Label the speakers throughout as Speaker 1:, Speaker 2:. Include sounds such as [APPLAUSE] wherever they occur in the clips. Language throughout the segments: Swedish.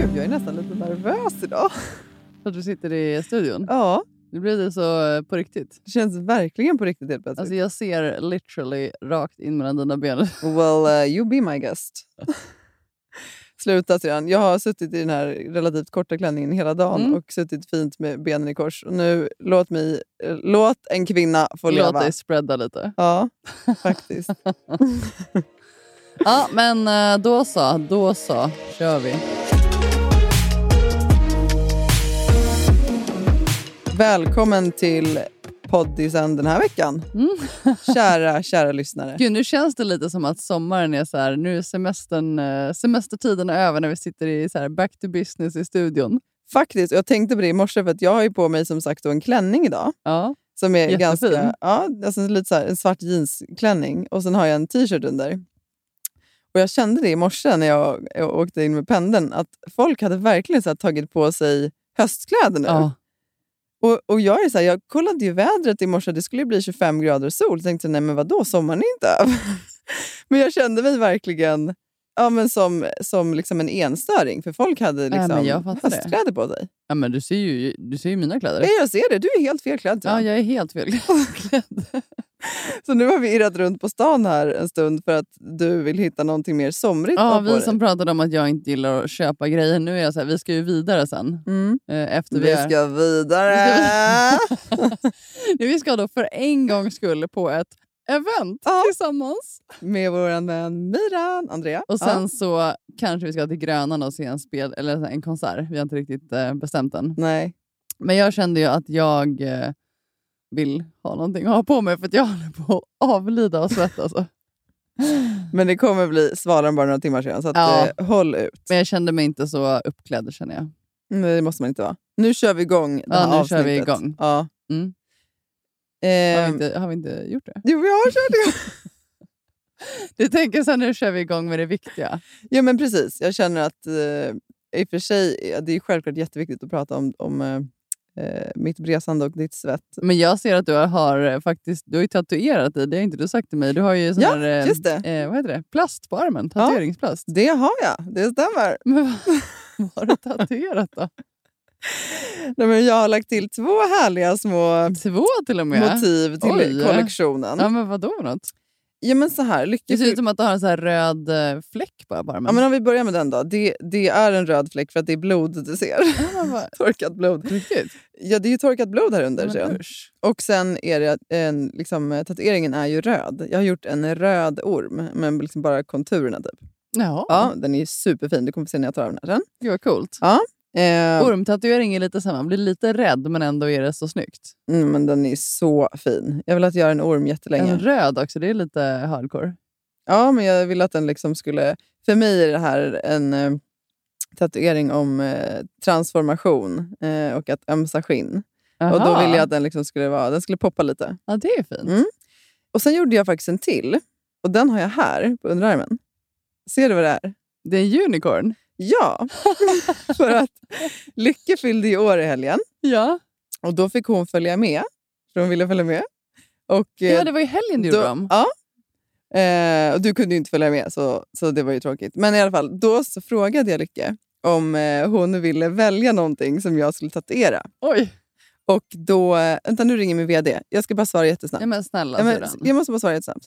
Speaker 1: Gud, jag är nästan lite nervös idag.
Speaker 2: För att du sitter i studion?
Speaker 1: Ja,
Speaker 2: Nu blir det så eh, på riktigt.
Speaker 1: det känns verkligen på riktigt helt plötsligt.
Speaker 2: Alltså jag ser literally rakt in mellan dina ben.
Speaker 1: well, eh, you be
Speaker 2: [LAUGHS]
Speaker 1: my guest. Sluta sedan. Jag har suttit i den här relativt korta klänningen hela dagen
Speaker 2: Mm.
Speaker 1: och suttit fint med benen i kors. Och nu, låt, mig, eh, låt en kvinna få
Speaker 2: Låt
Speaker 1: leva.
Speaker 2: dig spreada lite.
Speaker 1: Ja, faktiskt.
Speaker 2: [LAUGHS] Ja, men eh, då så, då så kör vi.
Speaker 1: Välkommen till poddisen den här veckan.
Speaker 2: Mm.
Speaker 1: Kära, kära lyssnare.
Speaker 2: Gud, nu känns det lite som att sommaren är så här, nu är semestern, eh, semestertiden är över när vi sitter i så här back to business i studion.
Speaker 1: Faktiskt, jag tänkte på det i morse för att jag har ju på mig som sagt då en klänning idag.
Speaker 2: Ja,
Speaker 1: Som är
Speaker 2: Jättefin.
Speaker 1: ganska, ja, alltså lite så här, en svart jeansklänning och sen har jag en t-shirt under. Och Jag kände det i morse när jag, jag åkte in med pendeln, att folk hade verkligen så här, tagit på sig höstkläder nu.
Speaker 2: ja.
Speaker 1: Och, och jag, är så här, jag kollade ju vädret i morse, det skulle ju bli 25 grader och sol. Jag tänkte, nej men vadå, sommaren är inte över. [LAUGHS] men jag kände mig verkligen ja, men som, som liksom en enstöring, för folk hade
Speaker 2: men
Speaker 1: liksom
Speaker 2: jag fattar det.
Speaker 1: höstkläder på sig.
Speaker 2: ja men du ser ju, du ser ju mina kläder.
Speaker 1: Nej, jag ser det, du är helt felklädd. tror
Speaker 2: Ja,
Speaker 1: jag.
Speaker 2: jag är helt fel
Speaker 1: [LAUGHS]
Speaker 2: klädd.
Speaker 1: Så nu har vi irrat runt på stan här en stund för att du vill hitta någonting mer somrigt att
Speaker 2: Ja,
Speaker 1: ha på
Speaker 2: vi
Speaker 1: dig.
Speaker 2: som pratade om att jag inte gillar att köpa grejer. Nu är jag så här, vi ska ju vidare sen.
Speaker 1: Mm.
Speaker 2: eh, Efter vi,
Speaker 1: Vi
Speaker 2: är- [LAUGHS]
Speaker 1: ska vidare!
Speaker 2: Nu, vi ska då för en gångs skull på ett event tillsammans.
Speaker 1: [LAUGHS] Med vår vän Miran, Andrea.
Speaker 2: Och sen så kanske vi ska till Grönan och se en, spel, eller så här, en konsert. Vi har inte riktigt eh, bestämt än.
Speaker 1: Nej.
Speaker 2: Men jag kände ju att jag eh, vill ha någonting att ha på mig för att jag [LAUGHS] håller på att avlida av svett. Alltså.
Speaker 1: Men det kommer bli svalare om bara några timmar sedan, så att,
Speaker 2: Ja.
Speaker 1: eh, håll ut.
Speaker 2: Men jag kände mig inte så uppklädd känner jag.
Speaker 1: Nej, det måste man inte vara. Nu kör vi igång det
Speaker 2: Ja,
Speaker 1: här
Speaker 2: nu kör vi
Speaker 1: avsnittet.
Speaker 2: igång.
Speaker 1: Ja.
Speaker 2: Mm. Har vi
Speaker 1: Ehm,
Speaker 2: inte, har vi inte gjort det?
Speaker 1: Jo, vi har kört igång.
Speaker 2: Du tänker så här, nu kör vi igång med det viktiga.
Speaker 1: ja, men precis. Jag känner att eh, i och för sig, ja, det är självklart jätteviktigt att prata om, om eh, eh, mitt bresande och ditt svett.
Speaker 2: Men jag ser att du har eh, faktiskt du har ju tatuerat dig. Det har inte du sagt till mig. Du har ju sån
Speaker 1: Ja,
Speaker 2: här, eh,
Speaker 1: just det.
Speaker 2: Eh, vad heter det? Plast på armen.
Speaker 1: Ja.
Speaker 2: Tatueringsplast.
Speaker 1: Det har jag, det stämmer.
Speaker 2: Men vad, [LAUGHS] vad har du tatuerat
Speaker 1: [LAUGHS]
Speaker 2: då?
Speaker 1: Nej, men jag har lagt till två härliga små
Speaker 2: Två till och med?
Speaker 1: motiv till
Speaker 2: Oj.
Speaker 1: kollektionen.
Speaker 2: Ja, men vadå för något?
Speaker 1: Ja, men så här,
Speaker 2: Det ser
Speaker 1: lyckefyll...
Speaker 2: ut som att du har en så här röd eh, fläck bara på armen.
Speaker 1: Ja, men om vi börjar med den då. Det, det är en röd fläck för att det är blod du ser. [LAUGHS]
Speaker 2: Ja, men vad-
Speaker 1: torkat blod.
Speaker 2: Riktigt?
Speaker 1: Ja, det är ju torkat blod här under.
Speaker 2: Men
Speaker 1: ser jag.
Speaker 2: usch.
Speaker 1: Och sen är det en, liksom, eh, tatueringen är ju röd. Jag har gjort en röd orm, men liksom bara konturerna typ.
Speaker 2: Jaha,
Speaker 1: Ja, den är superfin. Du kommer få se när jag tar av den här sen.
Speaker 2: gud vad coolt.
Speaker 1: Eh,
Speaker 2: Ormtatuering är lite samma, man blir lite rädd men ändå är det så snyggt.
Speaker 1: mm, men den är så fin. Jag har velat göra en orm jättelänge.
Speaker 2: En röd också, det är lite hardcore.
Speaker 1: Ja, men jag ville att den liksom skulle... För mig är det här en eh, tatuering om eh, transformation eh, och att ömsa skinn. Och då
Speaker 2: Aha.
Speaker 1: ville jag att den liksom skulle vara... Den skulle poppa lite.
Speaker 2: Ja, det är fint.
Speaker 1: Mm. Och sen gjorde jag faktiskt en till. Och den har jag här på underarmen. Ser du vad det är?
Speaker 2: Det är en unicorn.
Speaker 1: Ja! [LAUGHS] För att Lycke fyllde ju år i helgen.
Speaker 2: Ja,
Speaker 1: Och då fick hon följa med. För hon ville följa med. Och, eh,
Speaker 2: ja det var i helgen du gjorde
Speaker 1: då-
Speaker 2: dem.
Speaker 1: Ja. Eh, och du kunde ju inte följa med, så, så det var ju tråkigt. Men i alla fall, då så frågade jag Lycke om eh, hon ville välja någonting som jag skulle tatuera.
Speaker 2: Oj,
Speaker 1: Och då... Vänta, nu ringer min vd. Jag ska bara svara jättesnabbt.
Speaker 2: ja, men snälla
Speaker 1: Ja, men,
Speaker 2: syrran.
Speaker 1: jag måste bara svara jättesnabbt.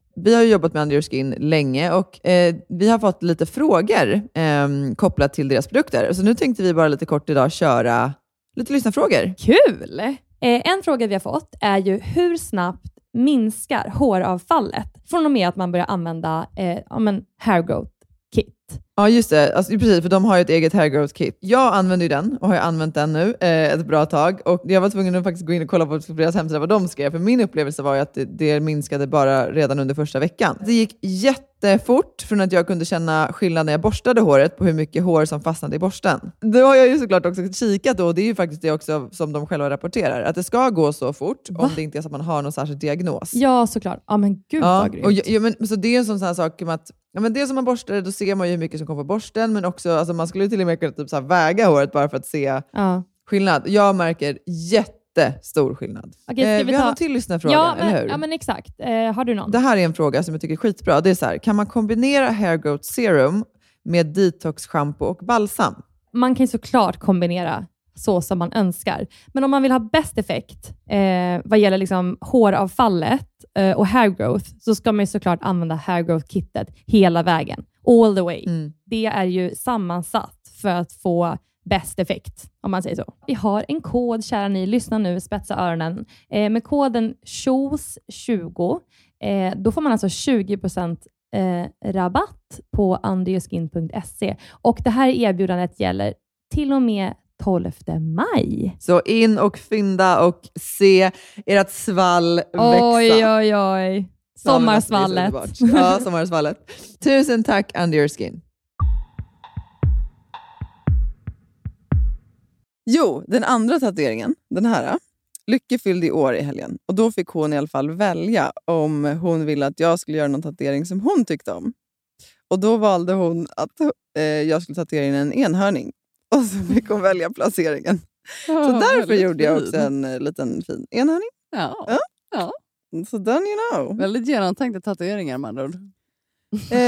Speaker 3: Vi har ju jobbat med Under Your Skin länge och eh, vi har fått lite frågor eh, kopplat till deras produkter. Så nu tänkte vi bara lite kort idag köra lite lyssnarfrågor.
Speaker 4: Kul! Eh, en fråga vi har fått är ju hur snabbt minskar håravfallet från och med att man börjar använda eh, ja, men hair growth kit?
Speaker 3: Ja, just det. Alltså, precis, för de har ju ett eget hair growth kit. Jag använder ju den och har ju använt den nu eh, ett bra tag. Och jag var tvungen att faktiskt gå in och kolla på deras hemsida vad de skrev, för min upplevelse var ju att det, det minskade bara redan under första veckan. Det gick jättefort från att jag kunde känna skillnad när jag borstade håret på hur mycket hår som fastnade i borsten. Då har jag ju såklart också kikat och det är ju faktiskt det också som de själva rapporterar, att det ska gå så fort om det inte är så att man har någon särskild diagnos.
Speaker 4: Ja, såklart. Ja, men gud
Speaker 3: Ja,
Speaker 4: vad
Speaker 3: och,
Speaker 4: grymt.
Speaker 3: ju- ju, men, så det är en sån sån här sak med att ja, men dels om man borstar, då ser man ju hur mycket som kommer på borsten, men också alltså, man skulle ju till och med kunna typ, så här, väga håret bara för att se
Speaker 4: Ja.
Speaker 3: skillnad. Jag märker jättestor skillnad.
Speaker 4: Okej, ska
Speaker 3: Eh,
Speaker 4: vi
Speaker 3: har
Speaker 4: ta-
Speaker 3: någon till lyssnarfråga,
Speaker 4: ja, men,
Speaker 3: eller hur?
Speaker 4: Ja, men exakt. Eh, har du någon?
Speaker 3: Det här är en fråga som jag tycker är skitbra. Det är så här, kan man kombinera hair growth serum med detox shampoo och balsam?
Speaker 4: man kan ju såklart kombinera så som man önskar. Men om man vill ha bäst effekt eh, vad gäller liksom håravfallet eh, och hair growth, så ska man ju såklart använda hair growth-kittet hela vägen. All the way.
Speaker 3: Mm.
Speaker 4: Det är ju sammansatt för att få bäst effekt, om man säger så. Vi har en kod, kära ni. Lyssna nu, spetsa öronen. Eh, med koden SHOES20, eh, då får man alltså 20% eh, rabatt på andreaskin.se. Och det här erbjudandet gäller till och med 12 maj.
Speaker 3: Så in och fynda och se ert svall växa.
Speaker 4: Oj, oj, oj.
Speaker 3: Ja, men alltså,
Speaker 4: Sommarsvallet.
Speaker 3: det är så underbart. Ja, sommarsvallet. Tusen tack Under Your Skin.
Speaker 1: Jo, den andra tatueringen, den här. Lycke fyllde i år i helgen och då fick hon i alla fall välja om hon ville att jag skulle göra någon tatuering som hon tyckte om. Och då valde hon att eh, jag skulle tatuera in en enhörning. Och så fick hon välja placeringen. Så därför gjorde jag också en eh, liten fin enhörning.
Speaker 2: Ja,
Speaker 1: Ja. Så done you know.
Speaker 2: väldigt genomtänkta tatueringar med andra ord.
Speaker 1: Eh,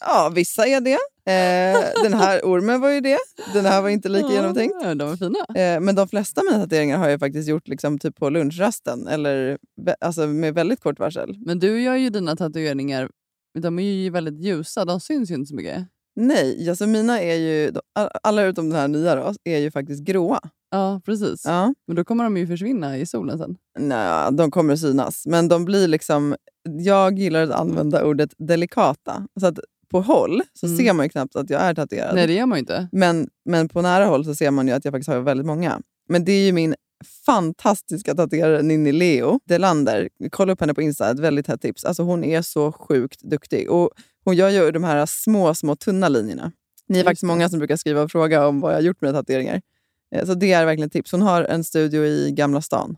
Speaker 1: ja, vissa är det. Eh, den här ormen var ju det. Den här var inte lika genomtänkt.
Speaker 2: Ja, de är fina.
Speaker 1: Eh, men de flesta av mina tatueringar har jag faktiskt gjort liksom, typ på lunchrasten eller vä- alltså, med väldigt kort varsel.
Speaker 2: Men du gör ju dina tatueringar, de är ju väldigt ljusa, de syns ju inte så mycket.
Speaker 1: Nej, alltså mina är ju, de- a- alla utom den här nya då, är ju faktiskt gråa.
Speaker 2: Ja, precis.
Speaker 1: Ja.
Speaker 2: Men då kommer de ju försvinna i solen sen.
Speaker 1: Nej, de kommer att synas, men de blir liksom... Jag gillar att använda ordet delikata. Så att på håll så
Speaker 2: Mm.
Speaker 1: ser man ju knappt att jag är tatuerad.
Speaker 2: Nej, det gör man ju inte.
Speaker 1: Men, men på nära håll så ser man ju att jag faktiskt har väldigt många. Men det är ju min fantastiska tatuerare Ninni Leo Delander. Kolla upp henne på Insta, ett väldigt hett tips. Alltså hon är så sjukt duktig. Och hon gör ju de här små, små tunna linjerna. Ni är
Speaker 2: Just
Speaker 1: faktiskt
Speaker 2: det.
Speaker 1: många som brukar skriva och fråga om vad jag har gjort med mina tatueringar. Eh, Så det är verkligen ett tips. Hon har en studio i Gamla stan.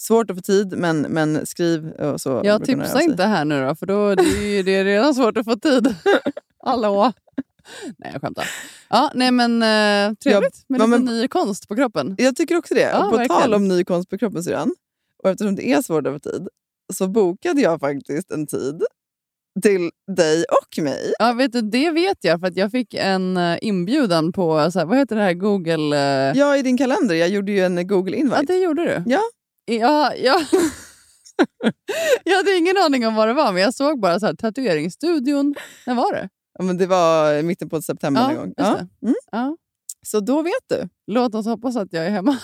Speaker 1: Svårt att få tid, men, men skriv och så. brukar alltså. hon
Speaker 2: Jag
Speaker 1: höra
Speaker 2: tipsar
Speaker 1: sig.
Speaker 2: inte här nu då, för då det är ju, det är redan svårt att få
Speaker 1: [LAUGHS]
Speaker 2: tid. Hallå! Nej, jag skämtar. Ja, nej, men eh, trevligt med
Speaker 1: ja,
Speaker 2: lite
Speaker 1: men-
Speaker 2: ny konst på kroppen.
Speaker 1: Jag tycker också det.
Speaker 2: Ja,
Speaker 1: och på
Speaker 2: verkligen.
Speaker 1: tal om ny konst på kroppen syrran, och eftersom det är svårt över tid, så bokade jag faktiskt en tid till dig och mig.
Speaker 2: Ja, vet du, det vet jag för att jag fick en eh, inbjudan på, så här, vad heter det här, Google... eh,
Speaker 1: Ja, i din kalender. Jag gjorde ju en Google
Speaker 2: Ja,
Speaker 1: invite.
Speaker 2: det gjorde du.
Speaker 1: Ja.
Speaker 2: Ja, ja. [LAUGHS] jag hade ingen aning om vad det var, men jag såg bara så här, tatueringsstudion. När var det?
Speaker 1: Ja, men det var i mitten på september någon gång.
Speaker 2: just
Speaker 1: Ja.
Speaker 2: det.
Speaker 1: Mm.
Speaker 2: Ja.
Speaker 1: Så då vet du.
Speaker 2: Låt oss hoppas att jag är hemma.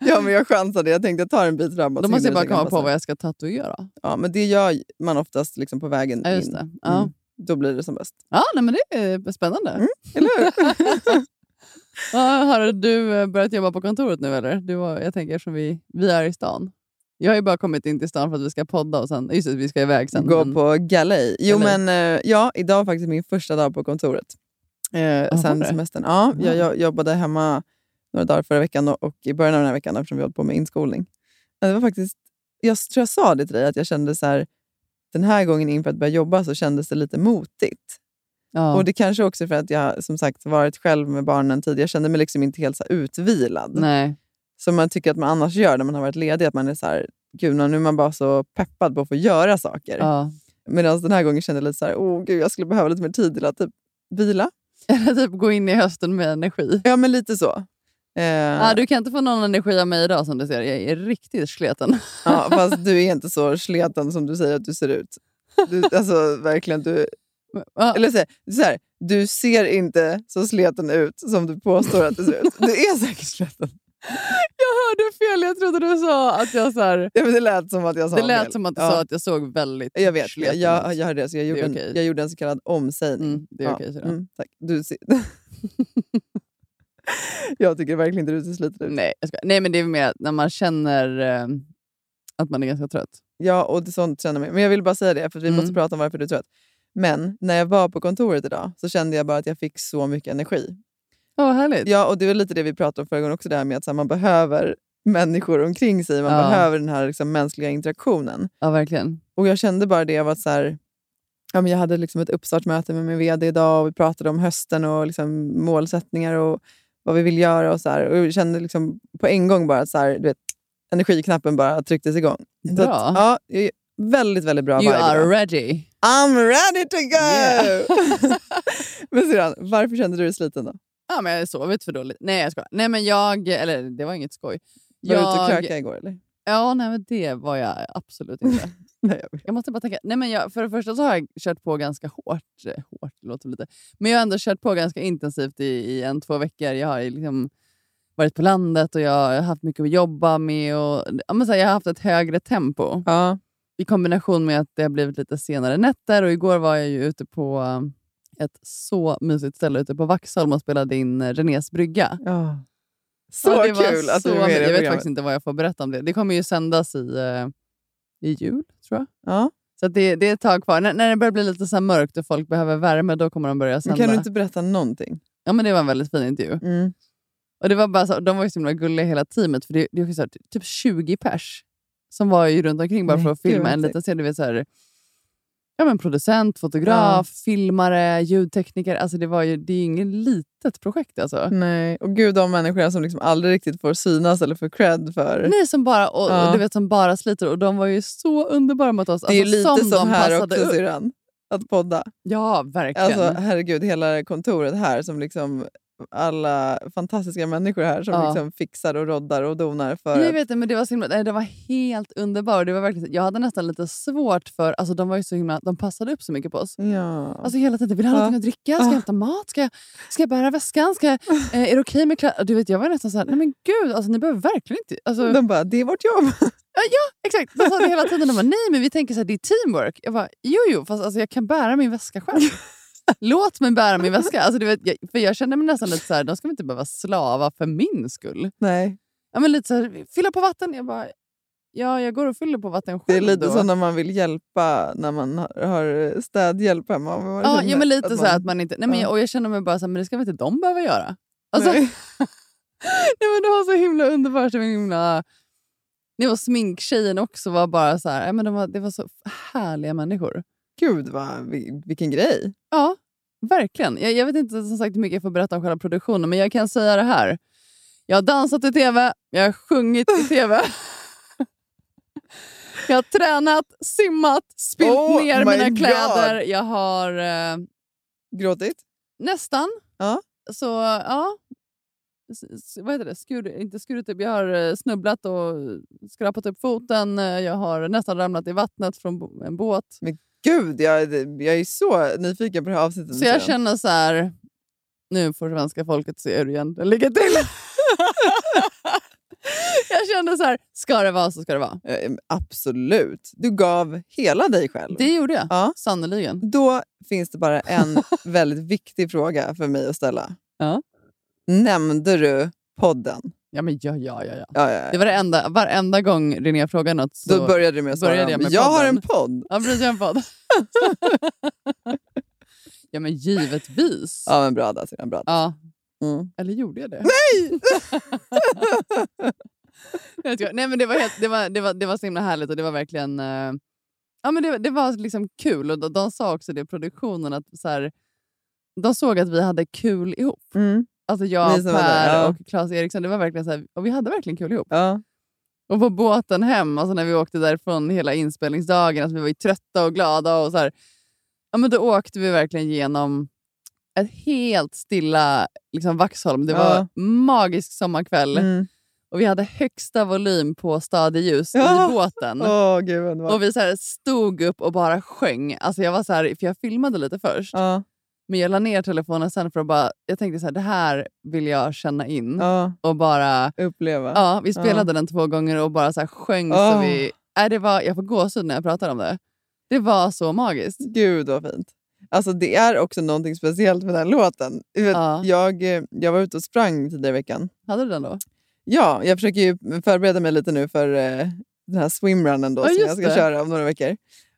Speaker 1: Ja, men jag chansade. Jag tänkte jag tar en bit framåt.
Speaker 2: Då
Speaker 1: så
Speaker 2: måste jag
Speaker 1: hinner
Speaker 2: bara
Speaker 1: det säkert
Speaker 2: komma på
Speaker 1: anpassa.
Speaker 2: vad jag ska tatuera.
Speaker 1: Ja, men det gör man oftast liksom på vägen
Speaker 2: Ja, just
Speaker 1: in.
Speaker 2: det. Ja.
Speaker 1: Mm. Då blir det som bäst.
Speaker 2: Ja, nej, men det är spännande.
Speaker 1: Mm, Eller hur?
Speaker 2: [LAUGHS] Ja, har du eh, börjat jobba på kontoret nu eller? Du var, jag tänker eftersom vi, vi är i stan. Jag har ju bara kommit in till stan för att vi ska podda och sen, just det, vi ska iväg sen.
Speaker 1: Gå
Speaker 2: men-
Speaker 1: på galej. Jo,
Speaker 2: Galej.
Speaker 1: men eh, ja, idag var faktiskt min första dag på kontoret. Eh,
Speaker 2: var
Speaker 1: sen
Speaker 2: det?
Speaker 1: semestern. Ja,
Speaker 2: Ja.
Speaker 1: jag, jag jobbade hemma några dagar förra veckan och, och i början av den här veckan eftersom vi höll på med inskolning. Men det var faktiskt, jag tror jag sa det till dig, att jag kände så här, den här gången inför att börja jobba så kändes det lite motigt.
Speaker 2: Ja.
Speaker 1: Och det kanske också är för att jag som sagt varit själv med barnen tidigare. Jag kände mig liksom inte helt så här utvilad.
Speaker 2: Nej.
Speaker 1: Som man tycker att man annars gör när man har varit ledig. Att man är så här, gud nu är man bara så peppad på att få göra saker.
Speaker 2: Ja. [LAUGHS]
Speaker 1: Medan den här gången kände jag lite så här, åh gud, jag skulle behöva lite mer tid till att typ vila.
Speaker 2: Eller typ gå in i hösten med energi.
Speaker 1: Ja, men lite så. Eh,
Speaker 2: Ah, du kan inte få någon energi av mig idag som du ser. Jag är riktigt sleten.
Speaker 1: ja, fast du är inte så sleten som du säger att du ser ut. Du, alltså verkligen, du,
Speaker 2: Ah,
Speaker 1: eller så här, så här, du ser inte så sleten ut som du påstår att du ser ut. Du är säkert sleten.
Speaker 2: [LAUGHS] jag hörde fel. Jag trodde du sa att jag... Så här,
Speaker 1: Ja, men det lät som att jag sa
Speaker 2: det lät
Speaker 1: fel.
Speaker 2: som att du
Speaker 1: Ja.
Speaker 2: sa att jag såg väldigt
Speaker 1: Jag vet, jag,
Speaker 2: sleten
Speaker 1: jag,
Speaker 2: ut.
Speaker 1: jag hörde det. Så jag, gjorde
Speaker 2: är
Speaker 1: en,
Speaker 2: okej.
Speaker 1: jag gjorde en så kallad omsägning.
Speaker 2: Mm, det är
Speaker 1: Ja,
Speaker 2: okej. sådär.
Speaker 1: mm, tack. Du ser... [LAUGHS] jag tycker verkligen inte du ser sliten ut.
Speaker 2: Nej, jag skojar. Nej, men det är mer att när man känner eh, att man är ganska trött.
Speaker 1: Ja, och det- sånt känner jag. Men jag vill bara säga det, för vi
Speaker 2: Mm.
Speaker 1: måste prata om varför du är trött. Men när jag var på kontoret idag så kände jag bara att jag fick så mycket energi.
Speaker 2: Åh, vad härligt.
Speaker 1: Ja, och det var lite det vi pratade om förra gången också, det här med att så här, man behöver människor omkring sig. Man
Speaker 2: Ja.
Speaker 1: behöver den här liksom, mänskliga interaktionen.
Speaker 2: Ja, verkligen.
Speaker 1: Och jag kände bara det av att så här, ja, men jag hade liksom ett uppstartsmöte med min vd idag och vi pratade om hösten och liksom målsättningar och vad vi vill göra. Och, så här. och jag kände liksom på en gång bara att så här, du vet, energiknappen bara trycktes igång. Så
Speaker 2: Bra.
Speaker 1: att, ja, jag är väldigt, väldigt bra
Speaker 2: You
Speaker 1: vibe
Speaker 2: are
Speaker 1: idag.
Speaker 2: ready.
Speaker 1: I'm ready to go!
Speaker 2: Yeah.
Speaker 1: [LAUGHS] men syrran, varför kände du dig sliten då?
Speaker 2: Ja, men jag har sovit för dåligt. Nej, jag skojar. Nej, men jag... Eller det var inget skoj.
Speaker 1: Var du ute och
Speaker 2: Jag-
Speaker 1: krökade igår eller?
Speaker 2: Ja, nej, men det var jag absolut inte.
Speaker 1: Nej, jag vet.
Speaker 2: Jag måste bara tänka. Nej, men jag, för det första så har jag kört på ganska hårt. eh, hårt det låter lite. Men jag har ändå kört på ganska intensivt i, i en, två veckor. Jag har ju liksom varit på landet och jag har haft mycket att jobba med. Och, ja, men så här, jag har haft ett högre tempo
Speaker 1: Ja.
Speaker 2: i kombination med att det har blivit lite senare nätter. Och igår var jag ju ute på eh, ett så mysigt ställe ute på Vaxholm och spelade in eh, Renés brygga.
Speaker 1: ja. Så
Speaker 2: Ja, det var
Speaker 1: kul att du
Speaker 2: så
Speaker 1: är
Speaker 2: mysigt.
Speaker 1: med i det
Speaker 2: Jag vet
Speaker 1: programmet.
Speaker 2: faktiskt inte vad jag får berätta om det. Det kommer ju sändas i, eh, i jul, tror jag.
Speaker 1: Ja.
Speaker 2: Så att det, det är ett tag kvar. När, när det börjar bli lite så här mörkt och folk behöver värme, då kommer de börja
Speaker 1: Men
Speaker 2: sända.
Speaker 1: kan du inte berätta någonting?
Speaker 2: Ja, men det var en väldigt fin intervju.
Speaker 1: Mm.
Speaker 2: Och det var bara så, de var ju så himla gulliga hela teamet, för det, det är ju så här, ty- typ 20 pers som var ju runt omkring bara
Speaker 1: Nej,
Speaker 2: för att
Speaker 1: gud,
Speaker 2: filma
Speaker 1: vad
Speaker 2: en
Speaker 1: häftigt.
Speaker 2: liten scen. Du vet, så här, ja, men producent, fotograf, filmare, ljudtekniker. Alltså det, var ju, det är ju inget litet projekt alltså.
Speaker 1: Nej, och gud de människorna som liksom aldrig riktigt får synas eller får cred för.
Speaker 2: Nej, som bara, och,
Speaker 1: Ja.
Speaker 2: och du vet, som bara sliter. Och de var ju så underbara mot oss.
Speaker 1: det är ju
Speaker 2: Alltså,
Speaker 1: lite som,
Speaker 2: de
Speaker 1: här
Speaker 2: passade
Speaker 1: också
Speaker 2: upp.
Speaker 1: syrran, att podda.
Speaker 2: Ja, verkligen.
Speaker 1: Alltså herregud, hela kontoret här som liksom alla fantastiska människor här som
Speaker 2: Ja.
Speaker 1: liksom fixar och roddar och donar för
Speaker 2: Jag
Speaker 1: att
Speaker 2: vet det, men det var, så himla, nej, det var helt underbart. Det var verkligen, jag hade nästan lite svårt för... Alltså, de var ju så himla, de passade upp så mycket på oss.
Speaker 1: Ja.
Speaker 2: Alltså hela tiden, vill du ha
Speaker 1: Ja.
Speaker 2: någonting att dricka? Ska jag
Speaker 1: Ja.
Speaker 2: hämta mat? Ska jag, ska jag bära väskan? Ska jag, eh, är det okej med kläder? Du vet, jag var nästan såhär, nej men gud, alltså, ni behöver verkligen inte... Alltså,
Speaker 1: de bara, det är vårt jobb. [LAUGHS]
Speaker 2: exakt, de sa det hela tiden. De bara, nej men vi tänker såhär, det är teamwork. Jag bara, jo jo, fast alltså, jag kan bära min väska
Speaker 1: [LAUGHS]
Speaker 2: själv. Låt mig bära min väska. Alltså, du vet, jag, för jag kände mig nästan lite såhär, de ska väl inte behöva slava för min skull.
Speaker 1: Nej,
Speaker 2: Ja, men lite så här, fylla på vatten. Jag bara, ja, jag går och fyller på vatten själv
Speaker 1: det är lite
Speaker 2: då.
Speaker 1: som när man vill hjälpa när man har- har städhjälp hemma. om man
Speaker 2: ja,
Speaker 1: känner
Speaker 2: ja, men lite så här att man inte... Nej, men
Speaker 1: Ja.
Speaker 2: jag, och jag känner mig bara så här, men det ska väl inte de behöva göra? Alltså, nej. [LAUGHS]
Speaker 1: Nej.
Speaker 2: men det var så himla underbart. Det var himla... Det var sminktjejen också var bara så här, ja, men de var, det var så härliga människor.
Speaker 1: Gud, vad, vil- vilken grej.
Speaker 2: Ja, verkligen. Jag, jag vet inte som sagt hur mycket jag får berätta om själva produktionen, men jag kan säga det här. Jag har dansat i tv, jag har sjungit i tv. Jag har tränat, simmat, spilt
Speaker 1: Oh
Speaker 2: ner
Speaker 1: my
Speaker 2: mina
Speaker 1: God.
Speaker 2: kläder. Jag har eh,
Speaker 1: Gråtit?
Speaker 2: nästan.
Speaker 1: Ja.
Speaker 2: Så, ja. S- s- Vad heter det? Skur, inte skurit upp. Jag har eh, snubblat och skrapat upp foten. Eh, Jag har nästan ramlat i vattnet från bo- en båt.
Speaker 1: Gud, jag, jag är så nyfiken på det här avsnittet.
Speaker 2: Så jag
Speaker 1: Syrran.
Speaker 2: känner så här, nu får svenska folket se hur det egentligen ligger
Speaker 1: [LAUGHS]
Speaker 2: till. jag känner så här, ska det vara så ska det vara.
Speaker 1: Eh, Absolut. Du gav hela dig själv.
Speaker 2: Det gjorde jag,
Speaker 1: Ja.
Speaker 2: sannerligen.
Speaker 1: Då finns det
Speaker 2: [LAUGHS]
Speaker 1: bara en väldigt viktig fråga för mig att ställa.
Speaker 2: Ja.
Speaker 1: Nämnde du podden?
Speaker 2: Ja, men ja, ja, ja, ja.
Speaker 1: Ja, ja,
Speaker 2: Det
Speaker 1: ja.
Speaker 2: var det enda, varenda gång René frågade något så...
Speaker 1: Då började du med att svara.
Speaker 2: började jag med
Speaker 1: jag har
Speaker 2: podden."
Speaker 1: en podd.
Speaker 2: ja, precis, jag har en
Speaker 1: [LAUGHS]
Speaker 2: podd. ja, men givetvis.
Speaker 1: Ja, men bra där, Syrran, bra. där.
Speaker 2: Ja.
Speaker 1: Mm.
Speaker 2: Eller gjorde jag det? Nej! [LAUGHS] jag skojar. Nej men det var, helt, det, var, det, var, det var så himla härligt och det var verkligen eh, ja, men det, det var liksom kul. Och de, de sa också det i produktionen, att så här, de såg att vi hade kul ihop.
Speaker 1: Mm.
Speaker 2: Alltså jag,
Speaker 1: Ni som var
Speaker 2: Per
Speaker 1: där, ja.
Speaker 2: och Claes Eriksson, det var verkligen så här, och vi hade verkligen kul ihop.
Speaker 1: Ja.
Speaker 2: Och på båten hem, alltså när vi åkte därifrån hela inspelningsdagen, alltså vi var ju trötta och glada. och så här, ja, men Då åkte vi verkligen genom ett helt stilla liksom, Vaxholm. Det var magisk sommarkväll
Speaker 1: Mm.
Speaker 2: och vi hade högsta volym på stadeljus
Speaker 1: Ja.
Speaker 2: i båten.
Speaker 1: Åh, gud vad underbart.
Speaker 2: Och vi så här stod upp och bara sjöng. Alltså jag, var så här, för jag filmade lite först,
Speaker 1: Ja,
Speaker 2: men jag la ner telefonen sen för att bara, jag tänkte så här, det här vill jag känna in.
Speaker 1: ja,
Speaker 2: Och bara,
Speaker 1: uppleva.
Speaker 2: ja, vi spelade den två gånger och bara så här sjöng. Så
Speaker 1: Ah.
Speaker 2: vi, äh, det var, jag får gåshud när jag pratar om det. Det var så magiskt.
Speaker 1: Gud vad fint. Alltså det är också någonting speciellt med den här låten. Du vet,
Speaker 2: Ja.
Speaker 1: Jag, eh, jag var ute och sprang tidigare i veckan.
Speaker 2: Hade du den då?
Speaker 1: Ja, jag försöker ju förbereda mig lite nu för eh, den här swimrunnen då,
Speaker 2: Ja,
Speaker 1: som jag
Speaker 2: just
Speaker 1: ska
Speaker 2: det.
Speaker 1: köra om några veckor.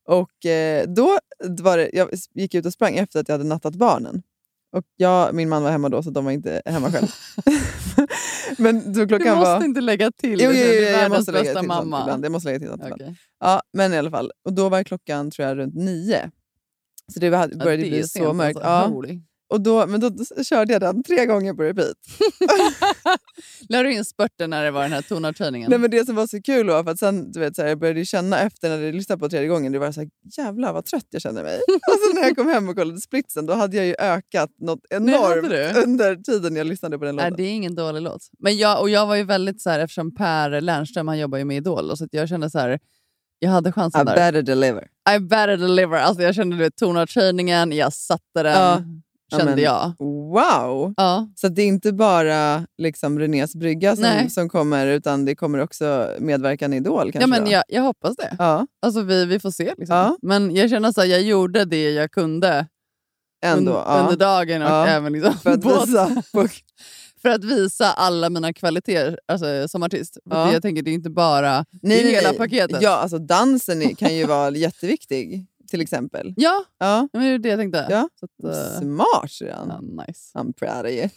Speaker 1: Och eh, då var det, jag s- gick ut och sprang efter att jag hade nattat barnen. Och jag, min man var hemma då, så de var inte hemma själv. [LAUGHS] Men då
Speaker 2: Du måste
Speaker 1: klockan var...
Speaker 2: inte lägga till
Speaker 1: Jo, jo,
Speaker 2: det.
Speaker 1: jo,
Speaker 2: du är
Speaker 1: jag
Speaker 2: världens
Speaker 1: måste lägga
Speaker 2: bästa
Speaker 1: till sånt
Speaker 2: mamma.
Speaker 1: ibland. Jag måste lägga till sånt ibland.
Speaker 2: Okej.
Speaker 1: Ja, men i alla fall. Och då var klockan tror jag runt nio. Så det hade-
Speaker 2: Ja,
Speaker 1: började
Speaker 2: det är
Speaker 1: bli
Speaker 2: ju sent
Speaker 1: så mörkt.
Speaker 2: alltså.
Speaker 1: Ja.
Speaker 2: Holy.
Speaker 1: Och då, men då s- körde jag den tre gånger på repeat.
Speaker 2: Lade du in spurten när det var den här tonartshöjningen?
Speaker 1: Nej, men det som var så kul var för att sen, du vet, så här, jag började ju känna efter när jag lyssnade på tredje gången, det var så här, jävlar vad trött jag
Speaker 2: [LAUGHS]
Speaker 1: känner mig. och sen när jag kom hem och kollade splitsen, då hade jag ju ökat något
Speaker 2: hade
Speaker 1: enormt
Speaker 2: du?
Speaker 1: under tiden jag lyssnade på den
Speaker 2: Nej,
Speaker 1: låten.
Speaker 2: det är ingen dålig låt. Men jag, och jag var ju väldigt så här, eftersom Per Lernström han jobbar ju med Idol, och så att jag kände så här, jag hade chansen där.
Speaker 1: deliver.
Speaker 2: I better deliver. Alltså jag kände du vet, tonartshöjningen, jag satte den,
Speaker 1: Ja.
Speaker 2: kände
Speaker 1: Amen.
Speaker 2: jag.
Speaker 1: Wow!
Speaker 2: Ja.
Speaker 1: Så att det är inte bara liksom Renés brygga som,
Speaker 2: Nej.
Speaker 1: som kommer, utan det kommer också medverkan i Idol kanske?
Speaker 2: Ja, men
Speaker 1: då?
Speaker 2: jag, jag hoppas det.
Speaker 1: ja
Speaker 2: Alltså vi, vi får se. Liksom.
Speaker 1: Ja.
Speaker 2: Men jag känner så här, jag gjorde det jag kunde
Speaker 1: ändå.
Speaker 2: un-
Speaker 1: ja.
Speaker 2: under dagen och
Speaker 1: Ja.
Speaker 2: även liksom, [LAUGHS]
Speaker 1: För att
Speaker 2: båt.
Speaker 1: visa. på-
Speaker 2: för att visa alla mina kvaliteter alltså, som artist. För att
Speaker 1: Ja.
Speaker 2: Jag tänker det är inte bara det är hela paketet.
Speaker 1: Ja, alltså dansen är- kan ju vara jätteviktig till exempel.
Speaker 2: ja
Speaker 1: Ja.
Speaker 2: men det är det jag tänkte.
Speaker 1: Ja.
Speaker 2: Så att, eh,
Speaker 1: Smart Shiran.
Speaker 2: ja, nice.
Speaker 1: I'm proud of you.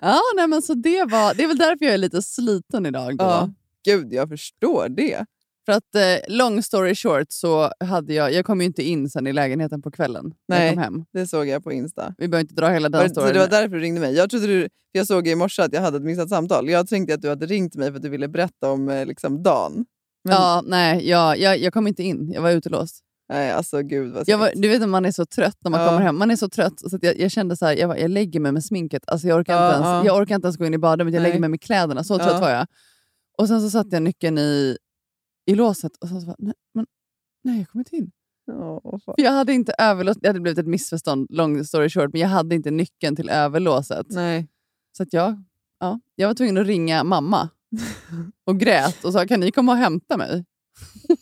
Speaker 2: Ja, nej, men så det, var, det är väl därför jag är lite sliten idag. [LAUGHS] Då.
Speaker 1: Ja. Gud, jag förstår det.
Speaker 2: För att eh, long story short så hade jag, jag kom ju inte in sen i lägenheten på kvällen när jag
Speaker 1: Nej.
Speaker 2: kom hem.
Speaker 1: Det såg jag på Insta.
Speaker 2: Vi behöver inte dra hela
Speaker 1: Var
Speaker 2: den
Speaker 1: det, så
Speaker 2: storyn.
Speaker 1: det var därför du ringde mig. Jag, trodde du, jag såg i morse att jag hade ett missat samtal. Jag tänkte att du hade ringt mig för att du ville berätta om eh, liksom, Dan. men-
Speaker 2: Ja, nej, jag, jag, jag kom inte in. Jag var utelåst.
Speaker 1: Nej, alltså gud vad
Speaker 2: Jag var,
Speaker 1: segt.
Speaker 2: du vet när man är så trött när man
Speaker 1: Ja.
Speaker 2: kommer hem. Man är så trött så att jag, jag kände så här, jag, bara, jag lägger mig med sminket. Alltså jag, orkar
Speaker 1: Ja,
Speaker 2: inte ens,
Speaker 1: ja.
Speaker 2: jag orkar inte ens gå in i badrummet. Jag
Speaker 1: Nej.
Speaker 2: lägger mig med kläderna. Så
Speaker 1: Ja.
Speaker 2: trött var jag. Och sen så satte jag nyckeln i, i låset och sen så bara, nej, men, nej jag kom inte in.
Speaker 1: Åh, fan.
Speaker 2: För jag hade inte överlåst, det hade blivit ett missförstånd, long story short, men jag hade inte nyckeln till överlåset.
Speaker 1: Nej.
Speaker 2: Så att jag, ja, jag var tvungen att ringa [LAUGHS] mamma och grät och sa kan ni komma och hämta mig?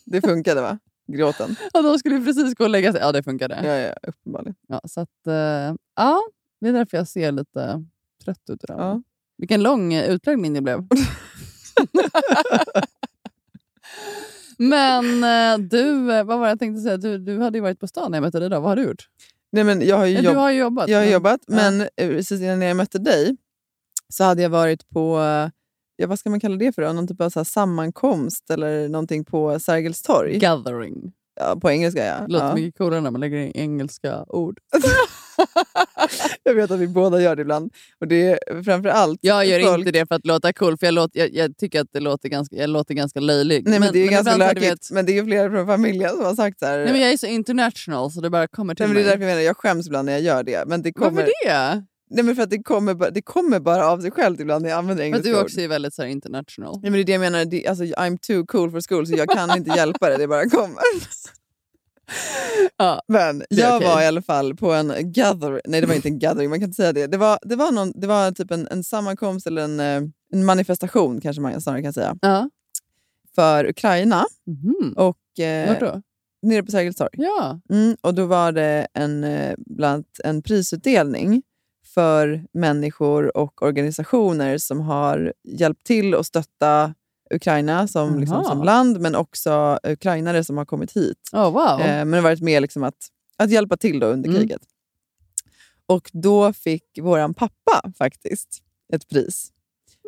Speaker 1: Det funkade va?
Speaker 2: [LAUGHS]
Speaker 1: Gråten.
Speaker 2: Och de skulle ju precis gå och lägga sig. Ja, det funkade. Ja.
Speaker 1: Ja, ja, uppenbarligen.
Speaker 2: så att, eh, ja, det är därför jag ser lite trött ut idag.
Speaker 1: Ja.
Speaker 2: Vilken lång eh, utläggning det blev. [LAUGHS] Men eh, du, eh, vad var det jag tänkte säga? Du, du hade ju varit på stan när jag mötte dig idag. Vad har du gjort?
Speaker 1: Nej, men jag har ju
Speaker 2: Eh,
Speaker 1: jobb-
Speaker 2: Du har ju jobbat.
Speaker 1: Jag har
Speaker 2: men-
Speaker 1: jobbat,
Speaker 2: Ja.
Speaker 1: men eh, precis innan jag mötte dig så hade jag varit på, eh, ja, vad ska man kalla det för då? Någon typ av så här sammankomst eller någonting på Sergels torg.
Speaker 2: Gathering.
Speaker 1: ja, på engelska ja.
Speaker 2: Det låter
Speaker 1: ja.
Speaker 2: mycket coolare när man lägger in engelska ord.
Speaker 1: [LAUGHS] Jag vet att vi båda gör det ibland. Och det är framför allt
Speaker 2: Jag gör
Speaker 1: folk-
Speaker 2: inte det för att låta cool, för jag, låter, jag, jag tycker att det låter ganska, jag låter ganska löjlig.
Speaker 1: Nej, men, det är ju ganska
Speaker 2: ibland har du
Speaker 1: lökigt, men det är ju flera från familjen som har sagt så här.
Speaker 2: vet- Nej, men jag är så international så det bara kommer till
Speaker 1: Nej, men det är
Speaker 2: mig.
Speaker 1: därför jag menar, jag skäms ibland när jag gör det. Men det kommer,
Speaker 2: Varför det?
Speaker 1: Nej, men för att det kommer, bara- det kommer bara av sig självt ibland när jag använder
Speaker 2: För att
Speaker 1: engelska
Speaker 2: du
Speaker 1: ord.
Speaker 2: också är väldigt så här, international.
Speaker 1: Nej, men det är det jag menar, det, alltså, I'm too cool for school så jag kan inte hjälpa det, det bara kommer.
Speaker 2: Ja,
Speaker 1: men
Speaker 2: det är
Speaker 1: jag
Speaker 2: okej.
Speaker 1: var i alla fall på en gathering, nej det var inte en gathering, man kan inte säga det. Det var, det var, någon, det var typ en, en sammankomst eller en, eh, en manifestation kanske man snarare kan säga,
Speaker 2: Ja.
Speaker 1: för Ukraina
Speaker 2: Mhm.
Speaker 1: och eh,
Speaker 2: Vart då?
Speaker 1: nere på Sergels torg.
Speaker 2: Ja.
Speaker 1: Mm, och då var det en, eh, bland annat en prisutdelning för människor och organisationer som har hjälpt till att stötta Ukraina som, liksom,
Speaker 2: Jaha.
Speaker 1: som land, men också ukrainare som har kommit hit.
Speaker 2: Oh, wow.
Speaker 1: Eh, men har varit med liksom att, att hjälpa till då under
Speaker 2: Mm.
Speaker 1: kriget. Och då fick våran pappa faktiskt ett pris.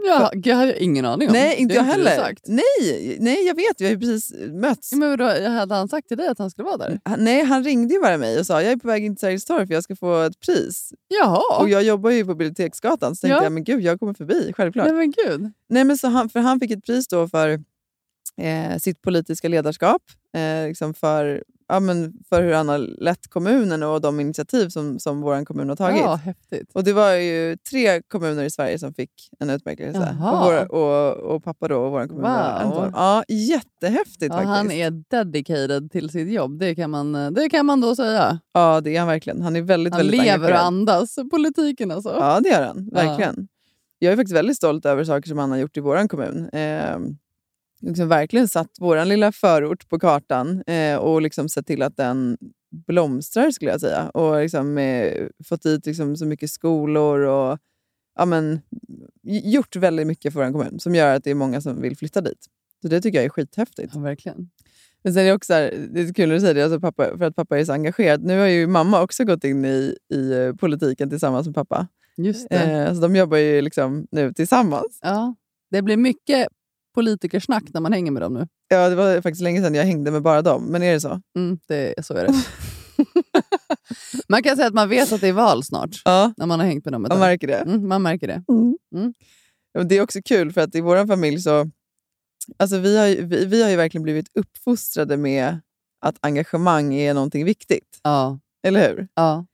Speaker 2: ja, jag hade ingen aning om.
Speaker 1: Nej, inte
Speaker 2: Det
Speaker 1: jag
Speaker 2: har du
Speaker 1: heller.
Speaker 2: Sagt.
Speaker 1: Nej, nej, jag vet. Vi har ju precis mötts.
Speaker 2: Ja, Men vadå, hade han sagt till dig att han skulle vara där?
Speaker 1: Han, nej, han ringde ju bara mig och sa jag är på väg in till Sergels torg för jag ska få ett pris.
Speaker 2: Jaha.
Speaker 1: Och jag jobbar ju på Biblioteksgatan så tänkte
Speaker 2: Ja.
Speaker 1: jag men gud, jag kommer förbi, självklart.
Speaker 2: Nej
Speaker 1: Nej,
Speaker 2: men gud.
Speaker 1: men så han, för han fick ett pris då för eh, sitt politiska ledarskap, eh, liksom för ja, ja, men för hur han har lett kommunen och de initiativ som, som vår kommun har tagit.
Speaker 2: Ja, häftigt.
Speaker 1: Och det var ju tre kommuner i Sverige som fick en utmärkelse.
Speaker 2: Jaha.
Speaker 1: Och, vår, och, och pappa då och vår kommun. var en
Speaker 2: Wow.
Speaker 1: av dem. Ja, jättehäftigt
Speaker 2: Ja,
Speaker 1: faktiskt.
Speaker 2: han är dedicated till sitt jobb, det kan man, eh, det kan man då säga.
Speaker 1: Ja, det är han verkligen. Han är väldigt,
Speaker 2: Han
Speaker 1: väldigt
Speaker 2: lever och
Speaker 1: engagerad.
Speaker 2: andas politiken alltså.
Speaker 1: Ja, det gör han.
Speaker 2: Ja.
Speaker 1: Verkligen. Jag är faktiskt väldigt stolt över saker som han har gjort i vår kommun. Eh, liksom verkligen satt vår lilla förort på kartan eh, och liksom sett till att den blomstrar, skulle jag säga. Och liksom, eh, fått dit liksom, så mycket skolor och ja, men, gj- gjort väldigt mycket för vår kommun som gör att det är många som vill flytta dit. Så det tycker jag är skithäftigt.
Speaker 2: Ja, verkligen.
Speaker 1: Men sen är det också så här, det är kul när du säger det, alltså pappa, för att pappa är så engagerad. Nu har ju mamma också gått in i, i eh, politiken tillsammans med pappa.
Speaker 2: Just det.
Speaker 1: Eh, så de jobbar ju liksom nu tillsammans.
Speaker 2: Ja. Det blir mycket politikersnack när man hänger med dem nu.
Speaker 1: Ja, det var faktiskt länge sedan jag hängde med bara dem, men är det så?
Speaker 2: Mm, det, så är det. [LAUGHS] man kan säga att man vet att det är val snart,
Speaker 1: Ja,
Speaker 2: när man har hängt med dem ett
Speaker 1: jag
Speaker 2: tag.
Speaker 1: märker det.
Speaker 2: Mm, man märker det.
Speaker 1: Ja, men Det är också kul för att i vår familj så... Alltså vi har, ju- vi, vi har ju verkligen blivit uppfostrade med att engagemang är någonting viktigt.
Speaker 2: Ja,
Speaker 1: Eller hur?
Speaker 2: ja,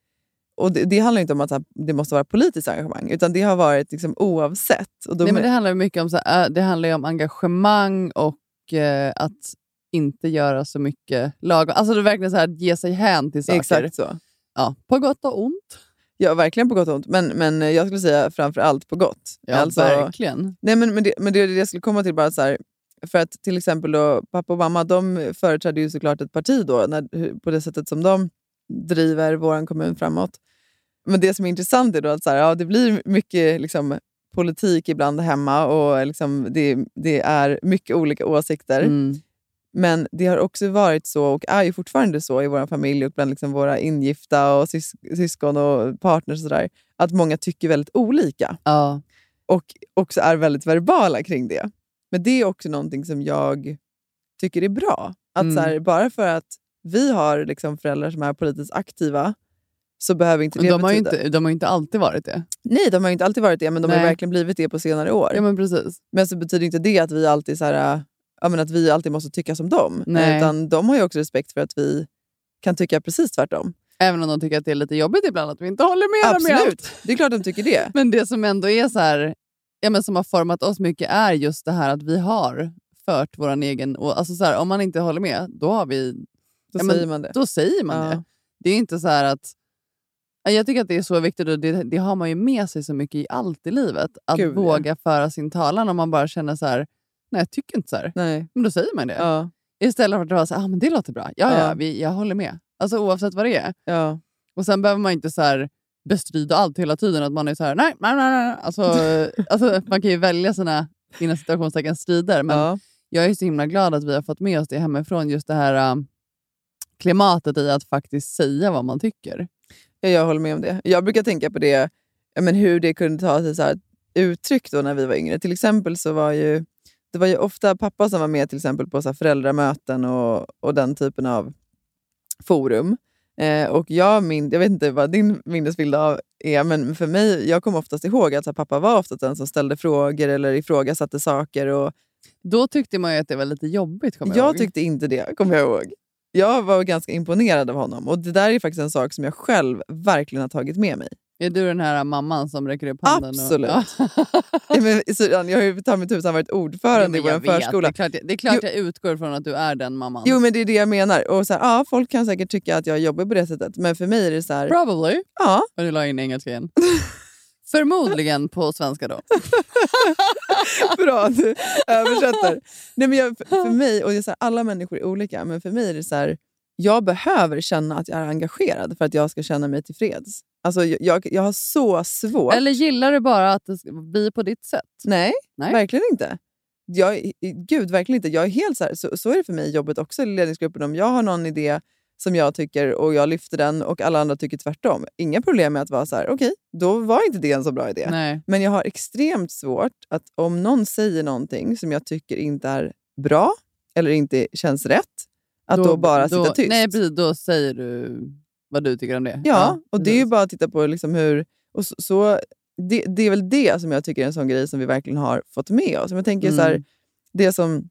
Speaker 1: Och det, det handlar inte om att så här, det måste vara politiskt engagemang, utan det har varit liksom oavsett. Och då
Speaker 2: Nej, men det handlar ju mycket om, så här, äh, det handlar ju om engagemang och eh, att inte göra så mycket lagom. Alltså det är verkligen så här, att ge sig hän till saker.
Speaker 1: Exakt så.
Speaker 2: Ja, på gott och ont.
Speaker 1: Ja, verkligen på gott och ont. Men, men jag skulle säga framför allt på gott. Alltså-
Speaker 2: verkligen.
Speaker 1: Nej, men, men, det, men det är det jag skulle komma till. bara så här, för att till exempel då, pappa och mamma de företräder ju såklart ett parti då, när, hur- på det sättet som de driver vår kommun framåt. Men det som är intressant är då att så här, ja, det blir mycket liksom, politik ibland hemma och liksom, det, det är mycket olika åsikter.
Speaker 2: Mm.
Speaker 1: Men det har också varit så, och är ju fortfarande så i vår familj och bland liksom våra ingifta och sys- syskon och partners och sådär, att många tycker väldigt olika
Speaker 2: Ja,
Speaker 1: och också är väldigt verbala kring det. Men det är också någonting som jag tycker är bra. Att
Speaker 2: Mm.
Speaker 1: så här, bara för att vi har liksom föräldrar som är politiskt aktiva så behöver inte det
Speaker 2: de har, ju
Speaker 1: betyda...
Speaker 2: inte, de har ju inte alltid varit det.
Speaker 1: Nej, de har ju inte alltid varit det, men de har
Speaker 2: Nej.
Speaker 1: ju verkligen blivit det på senare år.
Speaker 2: Ja, men precis.
Speaker 1: Men så betyder inte det att vi alltid, så här, äh, ja, men att vi alltid måste tycka som dem.
Speaker 2: Nej.
Speaker 1: Utan de har ju också respekt för att vi kan tycka precis tvärtom.
Speaker 2: Även om de tycker att det är lite jobbigt ibland att vi inte håller med dem i allt.
Speaker 1: Absolut, det är klart de tycker det.
Speaker 2: Men det som ändå är så här, ja, men som har format oss mycket är just det här att vi har fört vår egen... Och alltså så här, om man inte håller med, då, har vi,
Speaker 1: Då
Speaker 2: Ja, men
Speaker 1: säger man det.
Speaker 2: då säger man
Speaker 1: Ja.
Speaker 2: det. Det är inte så här att... ja, Jag tycker att det är så viktigt och det, det har man ju med sig så mycket i allt i livet. Att
Speaker 1: Gud, ja.
Speaker 2: våga föra sin talan om man bara känner så här, nej jag tycker inte så här.
Speaker 1: Nej.
Speaker 2: Men då säger man det.
Speaker 1: Ja,
Speaker 2: Istället för att vara så här, ah, men det låter bra. Ja, ja,
Speaker 1: Ja.
Speaker 2: vi, jag håller med. Alltså oavsett vad det är.
Speaker 1: ja.
Speaker 2: Och sen behöver man inte så här bestrida allt hela tiden. Att man är så här, nej, nej, nej. nej.
Speaker 1: [LAUGHS]
Speaker 2: Alltså, eh, alltså, man kan ju välja sina inom situationstecken strider. Men
Speaker 1: ja.
Speaker 2: jag är så himla glad att vi har fått med oss det hemifrån. Just det här eh, klimatet i att faktiskt säga vad man tycker.
Speaker 1: Ja, jag håller med om det. Jag brukar tänka på det, ja, men hur det kunde ta sig så här uttryck då när vi var yngre. Till exempel så var ju, det var ju ofta pappa som var med till exempel på så här föräldramöten och, och den typen av forum. Eh, och jag, min, jag vet inte vad din minnesbild av är, men för mig, jag kommer oftast ihåg att så här, pappa var oftast den som ställde frågor eller ifrågasatte saker. Och,
Speaker 2: Då tyckte man ju att det var lite jobbigt. kommer
Speaker 1: jag
Speaker 2: Jag, ihåg.
Speaker 1: tyckte inte det, kommer jag ihåg. Jag var ganska imponerad av honom och det där är faktiskt en sak som jag själv verkligen har tagit med mig.
Speaker 2: Är du den här eh, mamman som räcker upp handen?
Speaker 1: Absolut.
Speaker 2: Och,
Speaker 1: [LAUGHS] Ja, men, Syrran, jag har ju ta mig tusan varit
Speaker 2: Jo,
Speaker 1: ordförande
Speaker 2: men
Speaker 1: i
Speaker 2: jag
Speaker 1: vår
Speaker 2: vet.
Speaker 1: förskola.
Speaker 2: Det är klart, jag- det är klart
Speaker 1: Jo.
Speaker 2: jag utgår från att du är den mamman.
Speaker 1: Jo, men det är det jag menar. Och så här, ja, folk kan säkert tycka att jag jobbar på det sättet, men för mig är det så här...
Speaker 2: Probably.
Speaker 1: Ja, [LAUGHS]
Speaker 2: Och du la in engelska igen. Förmodligen på svenska då.
Speaker 1: bra
Speaker 2: [LAUGHS]
Speaker 1: att du översätter. Nej, men jag, för mig, och det är så här, alla människor är olika, men för mig är det så här... Jag behöver känna att jag är engagerad för att jag ska känna mig tillfreds. Alltså, jag- jag, jag har så svårt...
Speaker 2: Eller gillar du bara att det ska bli på ditt sätt?
Speaker 1: Nej,
Speaker 2: Nej.
Speaker 1: verkligen inte. Jag, är- gud, verkligen inte. Jag är helt så, här, så, så är det för mig i jobbet också i ledningsgruppen. Om jag har någon idé som jag tycker och jag lyfter den och alla andra tycker tvärtom. Inga problem med att vara så här, okej, då var inte det en så bra idé.
Speaker 2: Nej.
Speaker 1: Men jag har extremt svårt att om någon säger någonting som jag tycker inte är bra eller inte känns rätt, att då, bara sitta tyst.
Speaker 2: Nej, precis, då säger du vad du tycker om det.
Speaker 1: Ja, och det är ju
Speaker 2: precis.
Speaker 1: bara att titta på liksom hur... Och så, så, det,
Speaker 2: Mm.
Speaker 1: det är väl det som jag tycker är en sån grej som vi verkligen har fått med oss. Men Jag tänker så här, det som